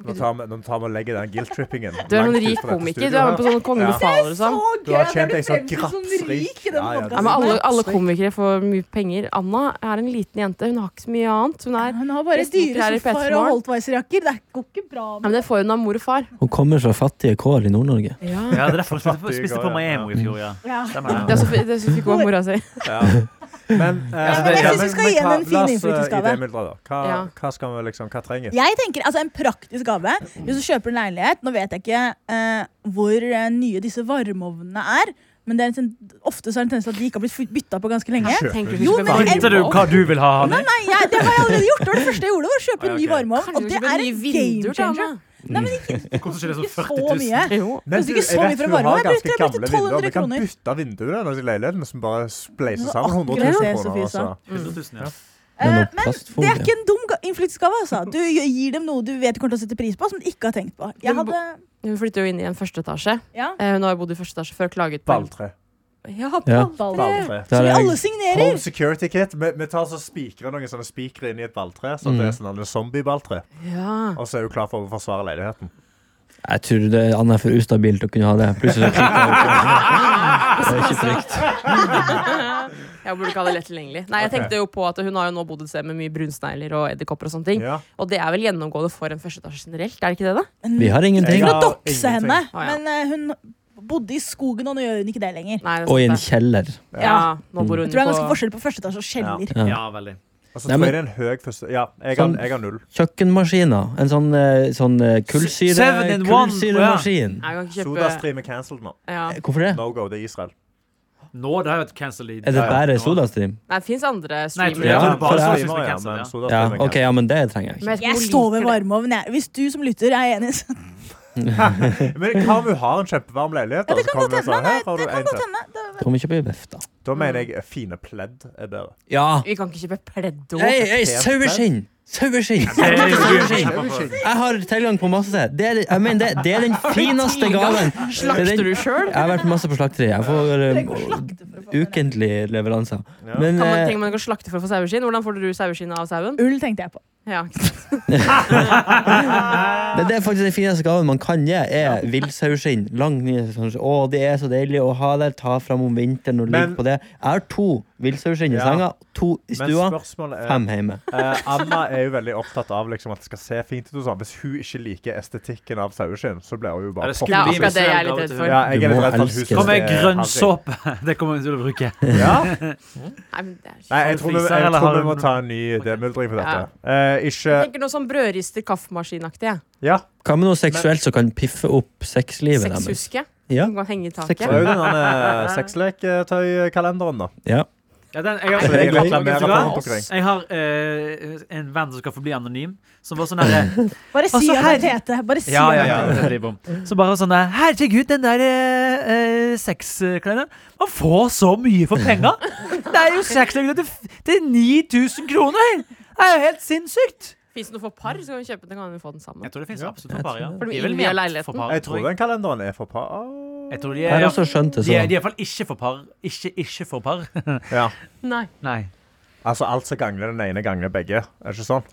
C: Nå tar vi- nå tar vi og legger den guilt-trippingen.
F: Du er
C: langt ut
F: sånn rik
C: fra dette
F: komiker.
C: studioet
F: Du er
C: her.
F: med på sånn Kongen
C: Ja.
F: befaler og sånn.
C: Du har
B: gøy,
C: tjent
B: det
C: deg sånn
B: fremstår som
C: grapsrik.
B: rik i denne
C: Ja, ja,
B: podcasten.
F: Ja, men alle, alle komikere får mye penger. Anna er en liten jente. Hun har ikke så mye annet. Hun er, ja,
B: Hun har bare
F: Prestemoter
B: dyre
F: her i
B: sofaer og
F: Petermorgen.
B: Holtweiser-jakker. Det går ikke bra med
F: men det får hun av mor og far.
E: Hun kommer fra fattige kår i Nord-Norge.
D: Ja, det er derfor jeg spiste på-
C: Fattig
D: spiste
C: går, ja.
D: på Miami i fjor, ja.
B: Ja.
D: Stemmer
F: Det
D: det.
F: er så, fi- det er så fikk hun av mora si.
C: Men, eh,
D: men jeg
C: ja,
D: synes
B: vi skal gi
C: hva-
B: henne en fin
C: la oss, eh,
B: innflytelsesgave.
C: idémyldre, da. Hva,
F: Ja.
C: hva skal vi liksom, hva trenger
B: Jeg tenker, altså En praktisk gave. Hvis du kjøper en leilighet Nå vet jeg ikke eh, hvor eh, nye disse varmeovnene er. Men det er en, ten- ofte så er det en tendens til at de ikke har blitt bytta på ganske lenge.
F: Tenker
B: Jo,
F: hun
B: men
F: ikke
B: jeg-
D: Visste du hva du vil ha, Hanni?
B: Nei, jeg, Det har jeg allerede gjort. Det var det første jeg gjorde. var å kjøpe en ny varmeovn.
F: Kanskje
B: Og
F: du
B: det
F: kjøper
B: er
F: nye
B: en game
F: vinduer til
B: changer.
F: Anna?
B: Nei, men ikke,
D: Koster ikke det
B: ikke
D: sånn
B: så
D: 40 000?
B: mye.
C: Men
F: Jo.
B: Jeg husker ikke så mye fra
C: hun har
B: varme. Jeg brukte- jeg
C: ganske
B: brukte
C: gamle vinduer. Vi kan
B: 1200
C: bytte vinduene i leiligheten som bare spleiser sammen. 100
B: akkurat
C: 000
B: det
C: sånn kroner.
B: Sofie sa.
C: Altså.
D: 100 000, ja.
E: Det er
B: Eh,
E: noe
B: men
E: plastfolie.
B: det er ikke en dum ga- innflytelsesgave. Altså. Du gir dem noe du vet de kommer til å sette pris på, som de ikke har tenkt på. Jeg
F: Men bo-
B: hadde,
F: Hun flytter jo inn i en første etasje.
B: ja,
F: Eh, Hun har jo bodd i første etasje før. Klaget på
C: Balltre.
F: Ja,
E: Ja.
F: balltre.
C: Balltre.
E: Der
B: som vi
E: er
B: alle
E: jeg.
B: signerer.
C: Home security kit. Vi, vi tar så spikrer noen sånne spikere inn i et balltre. Så
E: Mm.
C: det er sånn en zombie-balltre.
F: Ja.
C: Og så er hun klar for å forsvare leiligheten.
E: Jeg tror det Anna er for ustabil til å kunne ha det. Plutselig så klikker jeg ut. Det er ikke trygt.
F: Jeg burde ikke ha det lett tilgjengelig. Nei, jeg
C: Ok.
F: tenkte jo på at Hun har jo nå bodd et sted med mye brunsnegler og edderkopper. Og sånne ting
C: Ja.
F: Og det er vel gjennomgående for en førsteetasje generelt? er det ikke det da?
E: Vi har ingenting.
B: For å
C: Ja,
B: dokse
C: ingenting.
B: henne.
F: Å, ja.
B: Men eh, hun bodde i skogen, og nå gjør hun ikke det lenger.
F: Nei, det er
E: Og i en
F: sant det.
E: kjeller.
F: ja, nå bor hun
B: Jeg tror det er
F: på
B: ganske forskjell på første etasje og kjeller.
D: Ja, veldig.
C: Altså,
E: Nei,
C: tror
E: men-
C: jeg det er en høy første Ja, jeg har,
E: Sånn-
C: jeg har null.
E: Kjøkkenmaskiner. En sånn, eh, sånn eh, kullsyre,
D: Seven in one,
E: kullsyremaskin.
F: Nei, jeg kan ikke kjøpe
C: Sodastream er cancelled nå.
F: ja.
E: Eh, Hvorfor det?
C: No go, det er Israel.
D: Nå det har jo vært cancelled i
E: Er det bare sodastream?
F: Nei, det fins andre
D: Nei, jeg tror
F: streamere.
D: jeg
E: Ja,
D: tror det
E: for
D: bare
E: det er-
D: Sodastream som er
C: ja,
D: cancelled.
C: men
D: Ja.
C: Sodastream
E: Ja,
C: er
E: ok,
C: cancelled.
E: ja, men det trenger jeg ikke.
F: Men vet ikke om
B: Jeg
F: hun
B: står ved
F: liker det.
B: varmeovnen. jeg. Hvis du som lytter er enig, så
C: Men hva om hun har en kjempevarm leilighet?
B: Ja,
C: da,
B: det
C: så
B: kan godt
C: vi
B: hende.
C: og sier,
B: Nei,
C: her har
B: det
C: du
B: kan
C: en
B: godt
C: til.
B: hende. Det-
E: Kan vi kjøpe VEF, da?
C: Da mener jeg eh, fine pledd er bedre.
E: Ja!
F: Vi kan ikke kjøpe pleddo.
E: Hei, hei, saueskinn! Saueskinn! Saueskinn! Jeg har tilgang på masse. Det er, jeg mener, det, det er den fineste gaven. Det er
F: Slakter
E: den-
F: du sjøl?
E: Jeg har vært på masse på slakteri. Jeg får
B: det går
E: um,
B: slakte for å få det.
E: ukentlige leveranser. Men
F: Kan man
E: eh,
F: tenke man kan slakte for å få saueskinn? Hvordan får du saueskinn av sauen?
B: Ull tenkte jeg på.
F: Ja, ikke sant?
E: men det er faktisk den fineste gaven man kan gi, er villsaueskinn. Lang ned, sånn, Å, det er så deilig å ha der. Ta fram om vinteren og
C: Men-
E: ligge på det. Jeg har to villsaueskinn i
C: Ja.
E: senga, to i
C: Men
E: stua,
C: spørsmålet er
E: fem hjemme.
C: eh, Anna er jo veldig opptatt av liksom, at det skal se fint ut. og sånn. Hvis hun ikke liker estetikken av saueskinn, så blir hun jo
D: Ja,
C: bare
D: det
C: pop.
D: skulle
F: Ja,
D: bli
F: akkurat det jeg er
D: misfornøyd
F: litt redd
D: av
F: for.
C: Ja, jeg er
E: Du
C: litt redd
E: må
C: for at hun
E: elske
C: synes
D: Hva med
C: det er
D: grønn
C: harry.
D: såpe? Det kommer hun til å bruke.
C: Ja.
F: Nei, men det er
C: Nei, jeg tror, vi,
D: Fiser,
C: jeg
D: eller
C: tror
D: har
C: vi må
D: du-
C: ta en ny demultring på dette. Eh, ikke
F: Jeg tenker noe sånn brødrister, kaffemaskinaktig. jeg.
C: Ja.
E: Hva med noe seksuelt som kan piffe opp sexlivet deres?
F: Sexhuske.
E: Ja.
F: Som kan henge i
E: Sex-
C: Det er
F: taket.
C: jo den der, eh, sexleketøykalenderen, da.
E: Ja.
D: Ja, den, jeg har,
C: Så jeg
D: jeg har,
C: reklamerer for
D: jeg
C: rundt omkring.
D: har, eh, en venn som skal forbli anonym, som var sånn derre
B: Bare si
D: Altså,
B: at det er Tete. Bare si
D: Ja, ja,
B: at
D: ja.
B: det er
D: det blir bom. Så bare sånn der Herregud, den der eh, eh, sexklærne Man får så mye for penga! Det er jo sexklærne til, f- til 9000 kroner! Det er jo helt sinnssykt!
F: Fins det noe for par, så kan vi kjøpe den, kan vi få den sammen.
D: Jeg tror det fins absolutt et par, ja.
F: For de
D: De er vel
F: innvier
D: ment for
F: leiligheten.
D: par,
C: Jeg tror den kalenderen er for par.
D: Jeg tror de
E: Jeg
D: er,
E: har
D: ja.
E: også skjønt det
D: de er, de
E: sånn.
D: er i hvert fall ikke for par. Ikke ikke for par.
C: Ja.
F: Nei.
D: Nei.
C: Altså, alt som gagner den ene, gagner begge. Er det ikke sånn?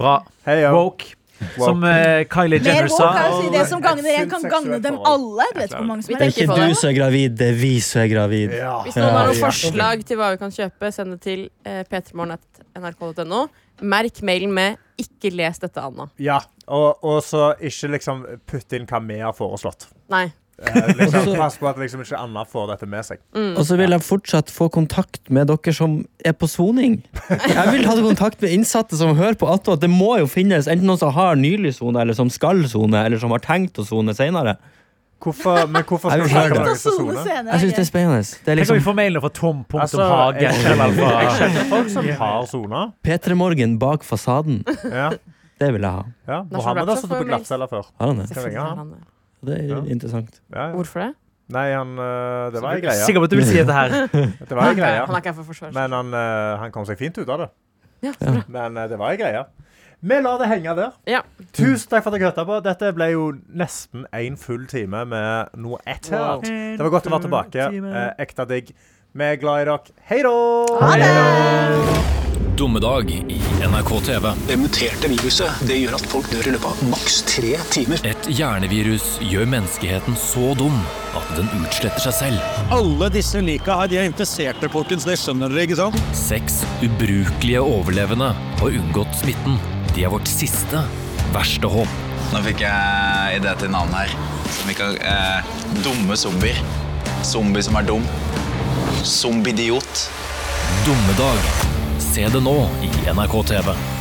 D: Bra.
C: Hei, ja.
D: Woke. Som eh, Kylie
B: Mer
D: Jenner
B: woke
D: sa.
B: er å si det som gagner en,
C: Sunt
B: kan
C: seksuelt
B: gagne dem
C: forhold.
B: alle. Du vet hvor mange som
F: Vi
B: er
E: Det er
F: tenker
E: ikke
F: på
E: du
F: det.
E: som er gravid, det er vi som er gravid.
C: Ja.
F: Hvis noen har noen
E: Ja, ja.
F: forslag til hva vi kan kjøpe, send det til eh, p3morgen.nrk.no. Merk mailen med 'ikke les dette, Anna'.
C: ja. Og, og så ikke liksom putte inn hva vi har foreslått.
F: Nei.
C: Eh, liksom,
E: Også-
C: pass på at liksom ikke Anna får dette med seg.
E: Og så vil jeg fortsatt få kontakt med dere som er på soning. Jeg vil ha kontakt med innsatte som hører på Atto. at Det må jo finnes enten noen som har nylig sone, eller som skal sone, eller som har tenkt å sone senere.
C: Hvorfor, men hvorfor
E: Jeg
C: skal
E: vil
C: vi snakke
E: høre
C: om
E: det.
B: Ta
C: noen som
B: sone
C: soner?
B: senere.
E: Jeg syns det er spennende. Det er
D: Tenk om vi
E: liksom
D: får mailen fra
C: Altså,
D: tom.hage.
C: jeg kjenner, jeg kjenner folk som har sona.
E: P3 Morgen bak fasaden.
C: Ja.
E: Det vil jeg ha.
C: Ja. Mohammed
F: Nasjonal
C: har
F: Blackstone
C: sittet
F: får
C: på glattcella før.
E: Har han det?
C: Skal vi ha?
F: han det.
E: Det er
C: Ja.
E: interessant.
C: Ja, ja.
F: Hvorfor det?
C: Nei, han eh, Det var ei greie.
D: Sikker på at du vil si dette her.
C: Det var ei greie.
F: Han er ikke her for å forsvare seg.
C: Men han, eh, han kom seg fint ut av det.
F: Ja, så bra.
C: Men eh, det var ei greie. Vi lar det henge der.
F: Ja.
C: Tusen takk for at dere hørte på. Dette ble jo nesten en full time med noe etter.
F: Wow.
C: Det var godt å være tilbake. Eh, ekte digg. Vi er glad i dere. Hei da!
J: Dommedag i NRK TV.
I: Det muterte viruset det gjør at folk dør i løpet av maks tre timer.
J: Et hjernevirus gjør menneskeheten så dum at den utsletter seg selv.
K: Alle disse lika her, de er infiserte, folkens. Det skjønner dere, ikke sant?
J: Seks ubrukelige overlevende har unngått smitten. De er vårt siste verste håp.
I: Nå fikk jeg idé til navn her. Som vi kan eh, Dumme zombier. Zombie som er dum. Zombidiot.
J: Dommedag. Se det nå i NRK TV.